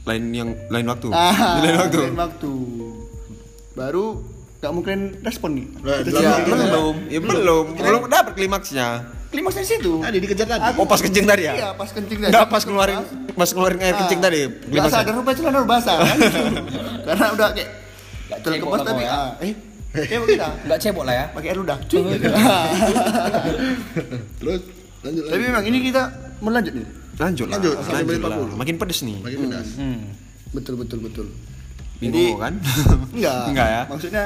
Speaker 1: Lain yang lain waktu.
Speaker 5: ah,
Speaker 1: lain waktu.
Speaker 5: lain waktu. Baru nggak mungkin respon nih.
Speaker 2: Lah,
Speaker 5: Kita
Speaker 1: Ya,
Speaker 5: siap.
Speaker 1: belum, ya belum, belum dapat klimaksnya.
Speaker 5: Klimaksnya di situ.
Speaker 2: Tadi dikejar tadi.
Speaker 1: Oh pas kencing tadi ya?
Speaker 5: Iya, pas kencing tadi.
Speaker 1: Enggak pas keluarin pas keluarin air
Speaker 5: Ah,
Speaker 1: kencing tadi.
Speaker 5: Basah,
Speaker 1: klimaksnya. [laughs]
Speaker 5: dan rupanya celana udah basah. kan? Karena udah kayak
Speaker 4: Nggak
Speaker 5: celana
Speaker 4: cebok
Speaker 5: kebas
Speaker 4: nggak
Speaker 5: tapi
Speaker 4: mau ya.
Speaker 5: ah, eh Cebok kita.
Speaker 4: Enggak cebok lah ya.
Speaker 5: Pakai air ludah. Cuy.
Speaker 2: Terus lanjut
Speaker 5: [laughs] Tapi
Speaker 2: lagi.
Speaker 5: memang ini kita melanjut nih.
Speaker 1: Lanjut lah.
Speaker 2: Lanjut,
Speaker 1: Lanjut,
Speaker 2: sampai menit
Speaker 1: lah.
Speaker 2: 40.
Speaker 1: Makin pedes nih.
Speaker 2: Makin pedas.
Speaker 4: Hmm.
Speaker 5: Betul betul betul.
Speaker 1: Bingung
Speaker 5: [laughs]
Speaker 1: kan?
Speaker 5: Enggak.
Speaker 1: Enggak ya.
Speaker 5: Maksudnya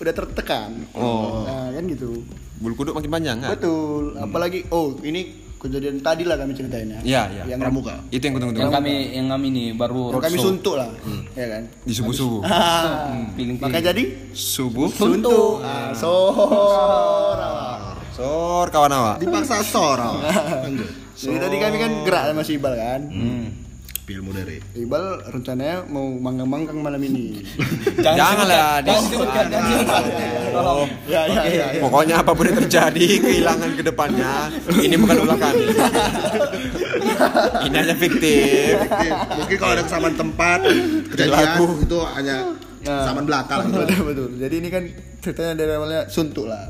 Speaker 5: udah tertekan.
Speaker 1: Oh.
Speaker 5: Nah, kan gitu.
Speaker 1: Bulu kuduk makin panjang
Speaker 5: Nah.
Speaker 1: kan?
Speaker 5: Betul. Apalagi oh ini kejadian tadi lah kami ceritain ya.
Speaker 1: Iya, iya.
Speaker 5: Yang
Speaker 2: Pramuka.
Speaker 1: Itu yang
Speaker 4: Yang
Speaker 1: kutunggu-tunggu.
Speaker 4: kami yang kami ini baru
Speaker 5: yang kami
Speaker 4: roadshow.
Speaker 5: suntuk lah. Ya kan.
Speaker 1: Di subuh-subuh.
Speaker 5: Ah,
Speaker 4: Piling-piling.
Speaker 5: Maka jadi
Speaker 1: Subuh.
Speaker 5: suntuk. Ah, sorak.
Speaker 1: Sor kawan awak.
Speaker 2: Dipaksa sorong. Lanjut.
Speaker 5: Jadi tadi kami kan gerak sama si Iqbal kan.
Speaker 2: Pilmu dari.
Speaker 5: Iqbal rencananya mau manggang-manggang malam [laughs] ini.
Speaker 1: Janganlah,
Speaker 4: disebutkan. Jangan ya. disebutkan. Jangan disebutkan. Tolong.
Speaker 5: [laughs] ya, ya, ya, ya.
Speaker 1: Pokoknya apapun yang terjadi, kehilangan ke depannya, ini bukan ulah kami. ini hanya fiktif.
Speaker 2: Oke, Mungkin kalau ada kesamaan tempat, kejadian
Speaker 1: Lagu.
Speaker 2: itu hanya kesamaan belakang. gitu.
Speaker 5: Betul, betul. Jadi ini kan ceritanya dari awalnya suntuk lah.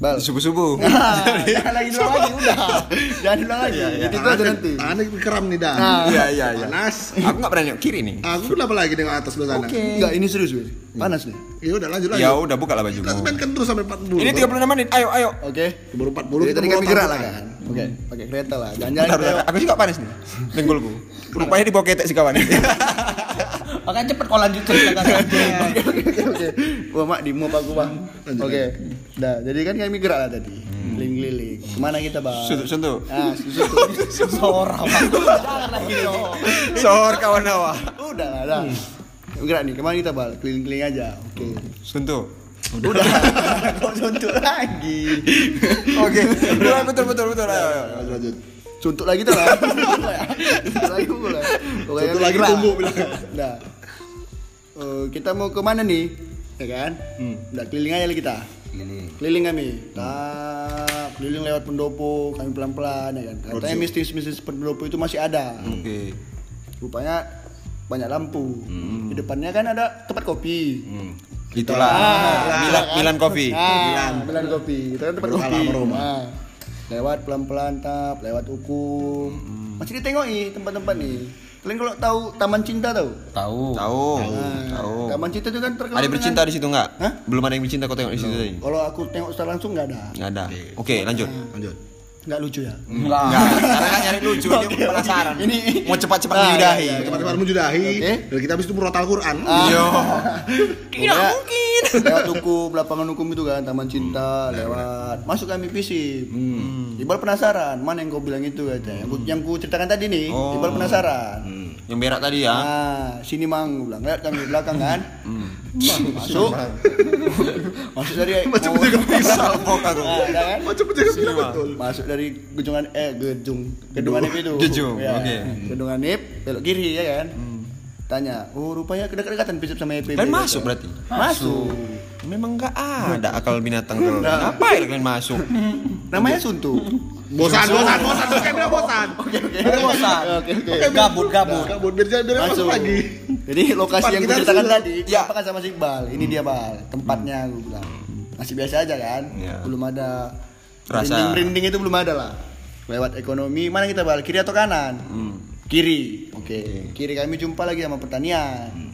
Speaker 5: Bal.
Speaker 1: Di
Speaker 5: [laughs]
Speaker 1: subuh-subuh.
Speaker 5: Ah, Jangan lagi diulang lagi udah. Jangan diulang lagi. Jadi itu aja
Speaker 2: Tangannya-
Speaker 5: nanti.
Speaker 2: Tangannya keram nih dah.
Speaker 5: Nah.
Speaker 1: Iya, iya, iya.
Speaker 2: Panas.
Speaker 1: Aku nggak pernah nengok kiri nih.
Speaker 2: Aku kenapa lagi dengan atas lu sana?
Speaker 5: Enggak, ini serius, Wil. Panas nih.
Speaker 2: Ya udah lanjut lagi.
Speaker 1: Ya udah buka lah bajumu.
Speaker 2: Kita mainkan terus sampai 40.
Speaker 1: Ini 36 menit. Ayo, ayo.
Speaker 5: Oke.
Speaker 2: baru 40.
Speaker 5: Jadi
Speaker 2: kita
Speaker 5: tadi
Speaker 2: baru
Speaker 5: kami gerak lah
Speaker 2: tangan.
Speaker 5: kan. Oke, pakai kereta lah.
Speaker 1: Bentar, bentar.
Speaker 5: Jangan-jangan
Speaker 1: Aku juga panas nih. Dengkulku. Rupanya dibawa ketek si kawan.
Speaker 4: Makanya cepet kalau lanjut cerita kan.
Speaker 5: [laughs] Oke, oke. Wah, Mak, di muap aku, Bang. Oke. Nah, jadi kan kami gerak lah tadi. Keliling-keliling. Kemana kita, Bang?
Speaker 1: Suntuk-suntuk.
Speaker 5: Ah, suntuk.
Speaker 4: Seorang. Jangan lagi. dong.
Speaker 1: Sor kawan awak.
Speaker 5: Udah lah, dah. Gerak nih, kemana kita, Bang? Keliling-keliling aja. Oke.
Speaker 1: Suntuk. [laughs]
Speaker 5: Udah. Kok suntuk lagi?
Speaker 1: Oke. Mulai betul betul betul. Ayo, ayo.
Speaker 2: Lanjut, lanjut.
Speaker 5: Suntuk lagi tuh lah. Suntuk lagi pukul lah. Pokoknya
Speaker 2: Suntuk lagi
Speaker 5: gerak.
Speaker 2: tumbuk bilang.
Speaker 5: Nah. Eh, kita mau ke mana nih? Ya kan? Udah keliling aja lah kita. Keliling. kami. Tak keliling lewat pendopo, kami pelan-pelan ya kan. Katanya mistis-mistis pendopo itu masih ada.
Speaker 1: Oke.
Speaker 5: Rupanya banyak lampu. Di depannya kan ada tempat kopi.
Speaker 1: Itulah. Milan Milan Coffee.
Speaker 5: Ah, Milan kopi. Itu kan tempat
Speaker 2: Baru
Speaker 5: kopi.
Speaker 2: kalah sama Roma.
Speaker 5: Ah. lewat pelan-pelan tap, lewat hukum. Masih ditengoki tempat-tempat nih. Kalian kalau tahu Taman Cinta tahu?
Speaker 4: Tahu.
Speaker 1: Tahu.
Speaker 5: Nah,
Speaker 1: Oh, Tahu.
Speaker 5: Taman Cinta itu kan terkenal.
Speaker 1: Ada yang
Speaker 5: dengan-
Speaker 1: bercinta di situ nggak?
Speaker 5: Hah?
Speaker 1: Belum ada yang bercinta kau tengok di situ tadi.
Speaker 5: Kalau aku tengok secara langsung nggak ada.
Speaker 1: Nggak ada. Oke, lanjut.
Speaker 2: Nah, Lanjut.
Speaker 5: Nggak lucu ya.
Speaker 1: Nggak, karena kan nyari lucu, dia penasaran.
Speaker 5: [laughs] Ini
Speaker 1: Mau cepat-cepat
Speaker 5: Nah,
Speaker 1: menyudahi.
Speaker 5: iya, iya.
Speaker 2: Teman-teman menjudahi
Speaker 5: Oke.
Speaker 2: dan kita habis itu murotal Quran.
Speaker 1: Yo.
Speaker 5: Tidak
Speaker 1: [laughs]
Speaker 5: mungkin. Lewat hukum, lapangan hukum itu kan, Taman
Speaker 1: Hmm.
Speaker 5: Cinta, lewat. Masuk kami PC. Iqbal penasaran, mana yang kau bilang itu katanya. Yang ku, yang ku ceritakan tadi nih,
Speaker 1: Oh.
Speaker 5: Iqbal penasaran.
Speaker 1: Hmm, Yang berak tadi ya.
Speaker 5: Ah, sini mang, gua bilang lihat kami di belakang kan. Bang, masuk. [laughs] masuk dari
Speaker 2: Macam
Speaker 5: mau-
Speaker 2: penjaga pisau.
Speaker 1: Salpok aku.
Speaker 5: Ah, ada kan?
Speaker 2: Macam penjaga pisau betul.
Speaker 5: Masuk dari gedungan eh gedung gedung anip itu.
Speaker 1: Gedung, oke.
Speaker 5: Gedung anip belok kiri ya kan. Tanya, oh rupanya dekat-dekatan Pisip sama EPB.
Speaker 1: Kalian
Speaker 5: kata.
Speaker 1: masuk berarti?
Speaker 5: Masuk.
Speaker 1: Memang nggak ada akal binatang tuh. Ngapain kalian masuk?
Speaker 5: Namanya Suntu.
Speaker 2: Bosan, bosan, bosan, Oke, bilang bosan. Oke,
Speaker 5: [laughs]
Speaker 4: Bosan. Gabut, gabut.
Speaker 2: Kabur biar jangan biar masuk lagi.
Speaker 5: Jadi lokasi
Speaker 2: Tempat
Speaker 5: yang
Speaker 2: kita
Speaker 5: gue ceritakan
Speaker 2: sudah- Iya.
Speaker 5: tadi, ya. kan sama si Iqbal. Ini dia Bal, tempatnya gue bilang. Masih biasa aja kan?
Speaker 1: Iya.
Speaker 5: Belum ada
Speaker 1: Rasa.
Speaker 5: merinding-merinding itu belum ada lah. Lewat ekonomi, mana kita Bal? Kiri atau kanan?
Speaker 1: Hmm.
Speaker 5: Kiri. Oke. Kiri kami jumpa lagi sama pertanian.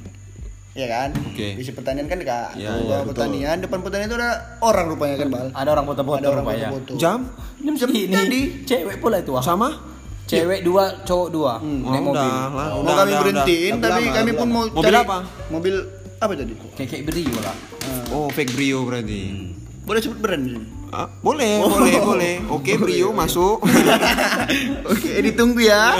Speaker 5: Iya kan?
Speaker 1: Hmm. Oke.
Speaker 5: Isi pertanian kan dekat.
Speaker 1: Iya,
Speaker 5: Bawah pertanian, depan pertanian itu ada orang rupanya kan Bal.
Speaker 4: Ada orang foto-foto
Speaker 5: Ada orang
Speaker 4: rupanya.
Speaker 5: foto-foto.
Speaker 1: Jam
Speaker 4: Ini segini. Cewek pula itu. ah.
Speaker 1: sama?
Speaker 4: Cewek dua, cowok dua.
Speaker 5: Hmm,
Speaker 1: Oh,
Speaker 4: Naik mobil.
Speaker 1: udah, lah.
Speaker 5: Mau
Speaker 1: Udah,
Speaker 5: kami
Speaker 1: udah,
Speaker 5: berhentiin,
Speaker 2: udah.
Speaker 5: tapi
Speaker 2: Udah lama,
Speaker 5: kami
Speaker 2: udah
Speaker 5: pun mau
Speaker 1: lama. Mobil
Speaker 5: cari
Speaker 1: apa?
Speaker 5: Mobil apa tadi?
Speaker 4: Kayak-kayak brio
Speaker 5: Eh.
Speaker 4: lah.
Speaker 1: udah. Oh, fake brio berarti.
Speaker 5: Boleh sebut brand di sini?
Speaker 1: Ah, boleh,
Speaker 5: Oh.
Speaker 1: boleh, boleh. Oke, brio
Speaker 5: [laughs]
Speaker 1: masuk.
Speaker 5: Oke, ditunggu ya.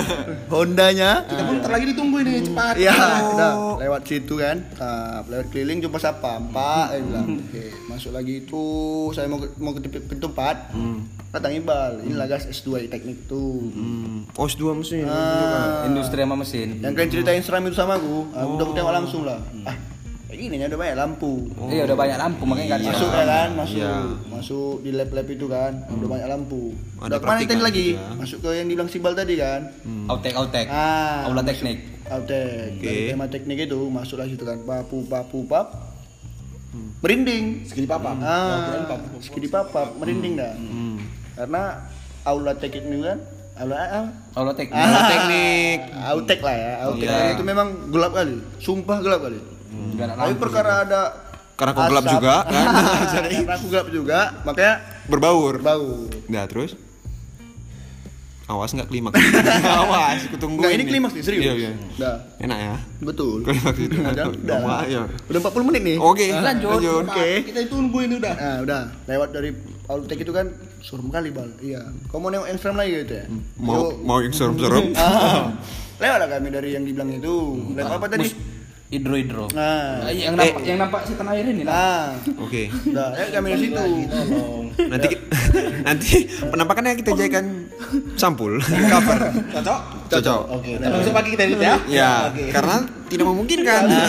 Speaker 5: Hondanya.
Speaker 2: Kita pun ntar lagi ditunggu ini cepat.
Speaker 5: Ah. Iya, udah lewat situ kan. Nah, lewat keliling jumpa siapa? Pak, saya bilang. Oke, masuk lagi itu saya mau ke, mau ke, tepi- ke tempat. Datang Iqbal, inilah gas S2 teknik tuh.
Speaker 1: Hmm, Os dua maksudnya.
Speaker 5: Ah.
Speaker 4: Eh, Industri sama mesin.
Speaker 5: Yang kalian ceritain seram itu sama aku, aku udah aku tengok langsung lah. Ah, kayak gini ya, udah banyak lampu.
Speaker 4: Iya udah banyak lampu makanya nggak ada.
Speaker 5: Masuk ya kan, masuk,
Speaker 1: Iya.
Speaker 5: masuk di lab-lab itu kan, udah banyak lampu.
Speaker 1: Ada
Speaker 5: udah kemana
Speaker 1: praktikan
Speaker 5: tadi lagi?
Speaker 1: juga.
Speaker 5: Masuk ke yang dibilang Sibal tadi kan.
Speaker 4: Autek, autek.
Speaker 5: Ah,
Speaker 4: Aula
Speaker 5: masuk.
Speaker 4: teknik.
Speaker 5: Autek.
Speaker 1: Oke.
Speaker 5: Dari tema teknik itu masuklah situ kan. Papu papu pap. Merinding.
Speaker 2: Segini papa.
Speaker 5: Ah, sekidi papap merinding
Speaker 1: Hmm.
Speaker 5: dah. Karena aula teknik ini kan aula ah,
Speaker 4: Aula teknik.
Speaker 5: ah,
Speaker 1: teknik.
Speaker 5: Autek lah ya. Autek
Speaker 1: Iya. Hmm.
Speaker 5: itu memang gelap kali. Sumpah gelap kali.
Speaker 4: Nggak ada
Speaker 5: Tapi
Speaker 4: lampu.
Speaker 5: perkara ada Nah,
Speaker 1: karena kau gelap
Speaker 5: [laughs]
Speaker 1: juga kan Jadi,
Speaker 5: Karena aku gelap juga, makanya
Speaker 1: berbaur
Speaker 5: bau.
Speaker 1: nah terus awas nggak klimaks [laughs] awas kutunggu
Speaker 5: Nggak, Nah, ini klimaks nih, serius.
Speaker 1: iya, iya.
Speaker 5: Nah,
Speaker 1: enak ya
Speaker 5: betul.
Speaker 1: klimaks
Speaker 5: [laughs]
Speaker 1: itu
Speaker 5: Udah, udah.
Speaker 1: Wah, iya.
Speaker 5: Udah 40 menit nih.
Speaker 1: oke
Speaker 7: Lanjut.
Speaker 1: lanjut
Speaker 5: Oke.
Speaker 2: Kita tunggu ini udah.
Speaker 5: Nah, udah lewat dari Autek itu kan suram kali bal. Iya. Kau mau nengok Instagram lagi gitu ya?
Speaker 1: mau
Speaker 5: Yuk.
Speaker 1: mau yang serem-serem
Speaker 5: Ah, lewat lah kami dari yang dibilang itu. Lewat apa tadi?
Speaker 4: Hidro hidro.
Speaker 5: Nah,
Speaker 4: yang nampak yang nampak setan air ini lah.
Speaker 5: nah,
Speaker 1: oke
Speaker 5: udah ya kami dari situ.
Speaker 1: nanti ki- nanti penampakannya kita jadikan sampul cover
Speaker 3: Cocok?
Speaker 1: cocok
Speaker 2: Oke.
Speaker 5: Iya,
Speaker 3: Nah, besok pagi kita edit ya.
Speaker 1: ya
Speaker 3: Oke.
Speaker 1: karena tidak memungkinkan Nah,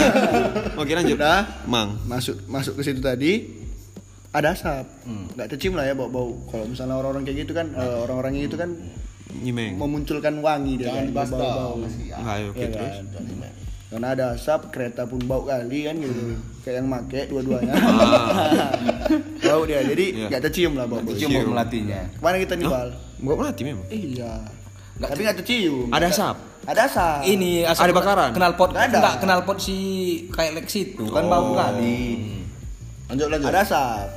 Speaker 1: oke lanjut
Speaker 5: Udah.
Speaker 1: mang
Speaker 5: Masuk masuk ke situ tadi ada asap,
Speaker 2: Hmm.
Speaker 5: nggak tercium lah ya bau-bau. Kalau misalnya orang-orang kayak gitu kan, eh, orang-orang yang itu kan
Speaker 1: nyimeng
Speaker 5: memunculkan wangi
Speaker 2: Hmm. Jangan
Speaker 5: dia kan,
Speaker 2: dibahas
Speaker 5: bau-bau.
Speaker 2: dong. Masih ya.
Speaker 1: Hai, oke
Speaker 5: Iya
Speaker 1: terus
Speaker 5: kan? Karena ada asap, kereta pun bau kali kan gitu. Kayak yang make dua-duanya. [laughs] bau dia. Jadi
Speaker 1: Iya.
Speaker 5: nggak tercium lah bau.
Speaker 4: Cium bau melatinya.
Speaker 5: Mana kita nih, Bal?
Speaker 1: Enggak melati memang.
Speaker 5: Iya. Tapi nggak tercium.
Speaker 1: Ada asap?
Speaker 5: Ada asap.
Speaker 4: Ini
Speaker 1: Ada bakaran?
Speaker 4: Kenal pot
Speaker 5: Nggak ada.
Speaker 4: enggak kenal pot si kayak Lex itu kan
Speaker 1: Oh.
Speaker 4: bau kali.
Speaker 2: Lanjut lanjut.
Speaker 5: Ada asap.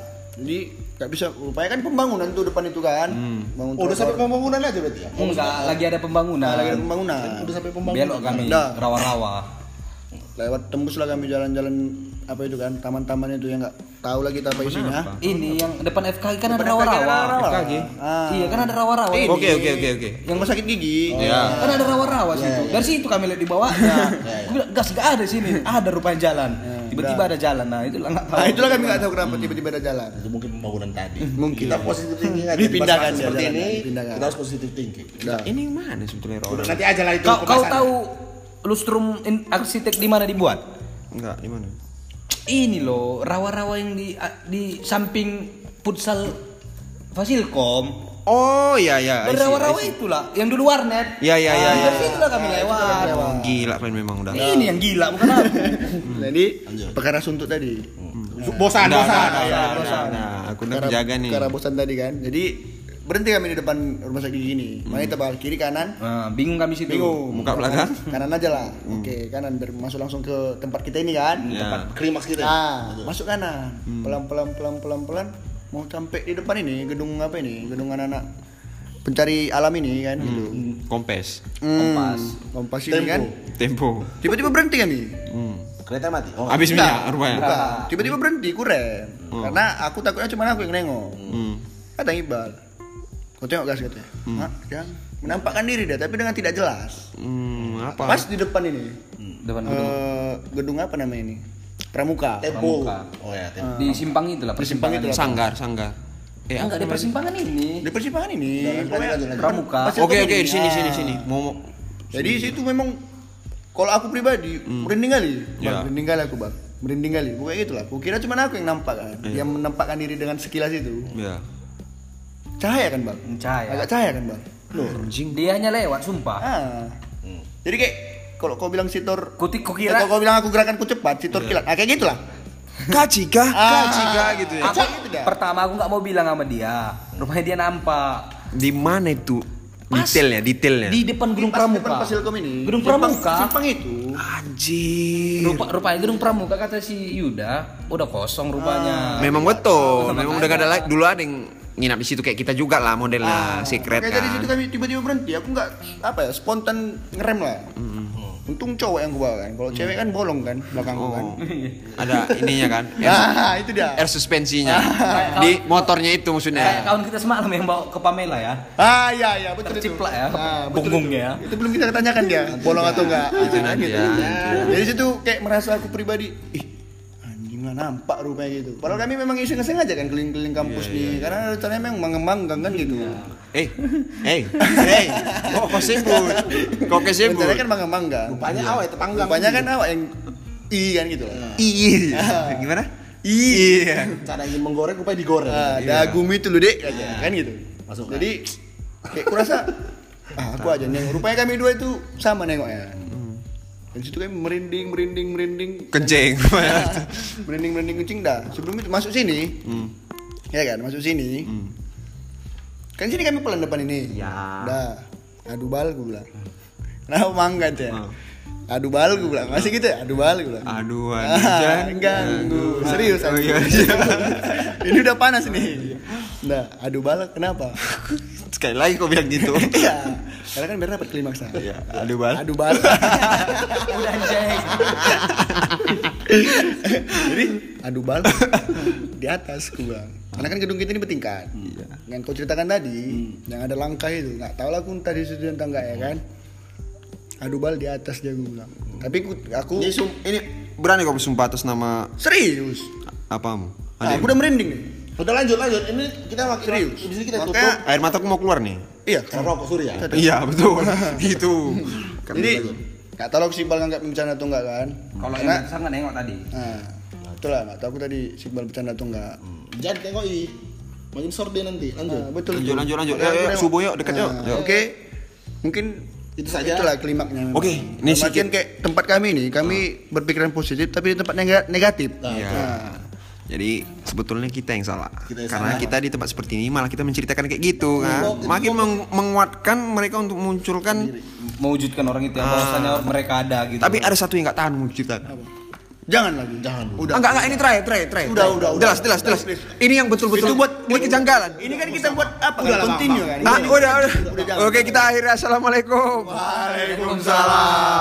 Speaker 5: Jadi nggak bisa rupanya kan pembangunan tuh depan itu kan. Bangun
Speaker 2: Oh, udah sampai
Speaker 5: trotoar.
Speaker 2: pembangunan aja berarti ya?
Speaker 4: Enggak lagi ada pembangunan.
Speaker 5: Nah, lagi ada pembangunan.
Speaker 2: Udah sampai pembangunan.
Speaker 4: Belok kami
Speaker 5: Dah.
Speaker 4: rawa-rawa.
Speaker 5: Lewat tembus lah kami jalan-jalan apa itu kan taman-taman itu yang nggak tahu lagi kita apa isinya.
Speaker 4: Ini yang depan FKI kan ada
Speaker 5: Depan FKI kan ada
Speaker 4: rawa-rawa.
Speaker 5: rawa-rawa.
Speaker 4: FKI.
Speaker 5: Ah.
Speaker 4: Iya kan ada rawa-rawa.
Speaker 5: Ini.
Speaker 1: Oke oke oke oke.
Speaker 5: Yang rumah sakit gigi.
Speaker 1: Ya.
Speaker 4: Kan ada rawa-rawa situ.
Speaker 5: ya.
Speaker 4: Dari situ kami lihat di bawahnya. Gua bilang, gas gak ada
Speaker 5: [laughs]
Speaker 4: sini. Ada rupanya jalan. Tiba-tiba ada jalan. Nah, itulah enggak tahu.
Speaker 5: Ya, Nah, itulah kami nggak tahu kenapa tiba-tiba ada jalan.
Speaker 2: Itu mungkin pembangunan tadi.
Speaker 5: Mungkin.
Speaker 2: Kita positif thinking aja.
Speaker 5: Dipindahkan
Speaker 2: Dipindahkan
Speaker 5: dia,
Speaker 2: seperti
Speaker 5: jalan,
Speaker 2: ini.
Speaker 5: dipindahkan.
Speaker 2: Kita harus positif thinking.
Speaker 5: Nah,
Speaker 1: Ini yang mana sebetulnya
Speaker 2: Udah,
Speaker 1: orang?
Speaker 2: Nanti aja lah itu.
Speaker 4: Kau, kau
Speaker 2: pembahasan.
Speaker 4: tahu lustrum in- arsitek di mana dibuat?
Speaker 1: Enggak, di mana?
Speaker 4: Ini loh, rawa-rawa yang di a- di samping futsal Fasilkom.
Speaker 1: Oh iya iya. I see,
Speaker 4: Rawa-rawa
Speaker 1: I see.
Speaker 4: itulah yang dulu warnet.
Speaker 1: Ya ya ya
Speaker 4: Nah,
Speaker 1: ya.
Speaker 4: Dari situ lah kami lewat. Nah,
Speaker 1: Gila kalian memang udah.
Speaker 4: Ini yang gila bukan aku.
Speaker 5: jadi nah, perkara suntuk tadi.
Speaker 2: Bosan,
Speaker 1: Nah,
Speaker 2: bosan.
Speaker 1: nah, nah, nah, nah, aku udah
Speaker 5: Perkara-
Speaker 1: menjaga nih. Ya.
Speaker 5: Perkara bosan tadi kan. Jadi berhenti kami di depan rumah sakit gigi nih. Mana kita bakal kiri kanan?
Speaker 4: Nah, bingung kami situ.
Speaker 5: Bingung.
Speaker 1: Hmm. Muka belakang.
Speaker 5: [laughs]
Speaker 1: Hmm.
Speaker 5: Kanan aja lah. Oke, kanan biar masuk langsung ke tempat kita ini kan.
Speaker 1: Ya.
Speaker 2: Klimaks kita.
Speaker 5: Nah, masuk kanan.
Speaker 1: Hmm.
Speaker 5: Pelan-pelan pelan-pelan pelan mau sampai di depan ini gedung apa ini? Gedung anak-anak pencari alam ini kan gitu.
Speaker 1: Hmm. Kompes.
Speaker 5: Kompas. Kompas ini
Speaker 2: Tempo.
Speaker 5: kan.
Speaker 1: Tempo. Hmm.
Speaker 5: Tiba-tiba berhenti kami.
Speaker 2: Kereta mati. Oh,
Speaker 1: Habis
Speaker 5: Enggak.
Speaker 1: minyak ya? rupanya. Hmm.
Speaker 5: Bukan. Tiba-tiba berhenti, kurem. Karena aku takutnya cuma aku yang nengok. Kata Iqbal. Kau tengok gas katanya. Hah, Yang menampakkan diri dia tapi dengan tidak jelas.
Speaker 1: Hmm, apa? Hmm.
Speaker 5: Pas di depan ini.
Speaker 4: Depan
Speaker 5: eh, gedung apa namanya ini? Pramuka.
Speaker 2: tempo. Oh ya, tempo.
Speaker 4: di simpang itulah persimpangan.
Speaker 5: itu lah.
Speaker 1: Sanggar, sanggar. Eh, apa
Speaker 4: Enggak di
Speaker 1: namanya?
Speaker 4: persimpangan ini.
Speaker 5: Di persimpangan ini. pokoknya
Speaker 4: Pramuka.
Speaker 5: pas di
Speaker 1: Oke
Speaker 5: depan
Speaker 1: oke
Speaker 5: ini.
Speaker 1: di sini
Speaker 5: Ah.
Speaker 1: sini sini. Mau mau-
Speaker 5: Jadi situ memang kalau aku pribadi merinding kali, bang,
Speaker 1: Hmm. Ya.
Speaker 5: merinding kali aku bang, merinding kali, pokoknya gitulah. Kukira cuma aku yang nampak kan,
Speaker 1: Iya.
Speaker 5: yang menampakkan diri dengan sekilas itu.
Speaker 1: ya.
Speaker 5: Cahaya kan bang?
Speaker 4: Cahaya.
Speaker 5: Agak cahaya kan bang?
Speaker 1: Anjing.
Speaker 4: Dia hanya lewat, sumpah.
Speaker 5: Ah. Jadi kayak kalau kau bilang sitor
Speaker 4: Kutik
Speaker 5: kalau
Speaker 4: kukira
Speaker 5: kau bilang aku gerakanku cepat,
Speaker 4: Iya.
Speaker 5: sitor kilat. Nah, kayak gitulah.
Speaker 1: Kacika,
Speaker 5: Ah.
Speaker 1: kacika gitu ya.
Speaker 4: aku
Speaker 5: Cak, gitu dah.
Speaker 4: pertama aku nggak mau bilang sama dia. Rupanya dia nampak
Speaker 1: Di mana itu?
Speaker 4: Pas.
Speaker 1: Detailnya, detailnya.
Speaker 4: di depan gedung pramuka.
Speaker 5: Pas Silkom ini.
Speaker 4: Gedung
Speaker 5: simpang-
Speaker 4: pramuka.
Speaker 5: Simpang itu.
Speaker 1: Anjir.
Speaker 4: Rupa, rupanya gedung pramuka kata si Yuda udah kosong rupanya.
Speaker 1: Memang betul, memang udah
Speaker 4: makanya.
Speaker 1: gak ada like dulu ada yang nginap di situ kayak kita juga lah modelnya secret
Speaker 5: Kayak
Speaker 1: kan.
Speaker 5: dari situ kami tiba-tiba berhenti. Aku nggak apa ya spontan ngerem lah. Untung cowok yang gua bawa kan. Kalau cewek kan bolong kan belakang gua kan.
Speaker 1: Oh, Eh, ada ininya kan, air,
Speaker 5: Ah, [laughs] itu dia.
Speaker 1: air suspensinya di motornya itu
Speaker 4: Kayak
Speaker 1: maksudnya.
Speaker 4: kawan kita semalam yang bawa ke Pamela ya.
Speaker 5: Ah, iya iya betul itu.
Speaker 4: Terciplak ya,
Speaker 5: Ah, betul
Speaker 4: punggungnya ya.
Speaker 5: itu. Itu belum kita tanyakan dia bolong atau enggak. Ah,
Speaker 1: Itu nanti ya.
Speaker 5: Jadi Ah, situ kayak merasa aku pribadi, ih anjing lah nampak rupanya gitu. Padahal kami memang iseng iseng aja kan keliling-keliling
Speaker 2: Iya,
Speaker 5: kampus nih, karena rencananya memang mengembangkan kan gitu.
Speaker 1: Eh, eh, eh, kok kau sebut? Kok kau sebut?
Speaker 5: Rencananya kan mengembangkan.
Speaker 2: Rupanya awak itu panggang.
Speaker 5: Rupanya kan awak yang i kan gitu. Lah.
Speaker 1: Iya. Gimana? Iya.
Speaker 2: Cara ingin menggoreng rupanya digoreng. Iya.
Speaker 5: Ah, dagu itu loh dek aja, kan gitu.
Speaker 2: Masuk kan.
Speaker 5: Jadi kayak kurasa ah, aku aja nengok. Rupanya kami dua itu sama nengoknya.
Speaker 2: Hmm.
Speaker 5: Dan situ kami merinding, merinding, merinding, [laughs] Iya.
Speaker 1: Kenceng.
Speaker 5: merinding merinding kencing dah sebelum itu masuk sini
Speaker 1: Hmm.
Speaker 5: ya kan masuk sini kan sini
Speaker 1: Hmm.
Speaker 5: kami pelan depan ini ya dah aduh bal gue bilang kenapa mangkat ya Adu bal gue bilang masih gitu ya? Adu bal gue bilang. [laughs]
Speaker 1: Aduh,
Speaker 5: Ah,
Speaker 1: anjing.
Speaker 5: ganggu. Serius
Speaker 1: Oh,
Speaker 5: anjing.
Speaker 1: iya, iya.
Speaker 5: [laughs] Ini udah panas nih. Nah, adu bal kenapa?
Speaker 1: [laughs] Sekali lagi kau bilang gitu.
Speaker 5: [laughs] Iya. Karena kan biar dapat klimaks nah.
Speaker 1: Iya, aduh bal.
Speaker 5: Adu bal.
Speaker 4: Udah anjing.
Speaker 5: Jadi adu bal di atas gue bilang. Karena kan gedung kita ini bertingkat. Yang kau ceritakan tadi, yang ada langkah itu, nggak tahu lah aku entah di situ entah nggak ya kan. Adu bal di atas dia gue bilang. Tapi ku- aku
Speaker 1: Ini, sum- ini berani kau bersumpah atas nama
Speaker 5: serius.
Speaker 1: apamu?
Speaker 5: Ah, aku udah merinding nih.
Speaker 2: Udah lanjut lanjut. Ini kita makin
Speaker 5: Serius?
Speaker 2: Di sini kita tutup.
Speaker 1: Makanya air mataku mau keluar nih.
Speaker 5: Iya.
Speaker 2: Karena rokok surya.
Speaker 1: Iya, betul. gitu.
Speaker 2: Kan
Speaker 5: Jadi nggak tahu lah aku si Iqbal nganggap bercanda atau enggak kan?
Speaker 4: Kalau
Speaker 1: Iya.
Speaker 5: Karena,
Speaker 4: yang sangat nengok tadi.
Speaker 5: nah, betul lah nggak tahu aku tadi si Iqbal bercanda atau enggak.
Speaker 2: Jangan tengok i. Makin sore dia nanti. Lanjut.
Speaker 5: Nah, betul.
Speaker 1: Lanjut,
Speaker 5: tuh.
Speaker 1: lanjut, lanjut. Yuk,
Speaker 5: Makanya aku
Speaker 1: yuk,
Speaker 5: nengok.
Speaker 1: subuh yuk, dekat yuk.
Speaker 5: Nah,
Speaker 1: Yuk.
Speaker 5: Oke. Mungkin
Speaker 2: Itu saja.
Speaker 5: Itulah klimaknya. memang.
Speaker 1: Oke, ini
Speaker 5: Dalam artian
Speaker 1: sedikit.
Speaker 5: kayak tempat kami nih, kami berpikiran positif tapi di tempat nega- negatif. Nah,
Speaker 1: Iya. Jadi sebetulnya kita yang salah.
Speaker 2: Kita yang
Speaker 1: Karena
Speaker 2: salah. Iya,
Speaker 1: kita di tempat seperti ini malah kita menceritakan kayak gitu kan. Makin meng- menguatkan mereka untuk munculkan.
Speaker 4: Mewujudkan orang itu yang bahwasanya mereka ada gitu.
Speaker 1: Ah. Tapi ada satu yang gak tahan mau ceritakan.
Speaker 5: Jangan lagi.
Speaker 2: Jangan.
Speaker 1: Udah. Enggak, enggak, ini terakhir, terakhir, terakhir.
Speaker 5: Udah, udah, udah.
Speaker 1: Jelas, jelas, jelas. Ini yang betul-betul buat buat kejanggalan.
Speaker 5: Ini kan kita buat apa? Udah
Speaker 2: Nah,
Speaker 5: continue kan.
Speaker 1: Ah, udah, udah. Oke, kita akhiri. Assalamualaikum.
Speaker 5: Waalaikumsalam.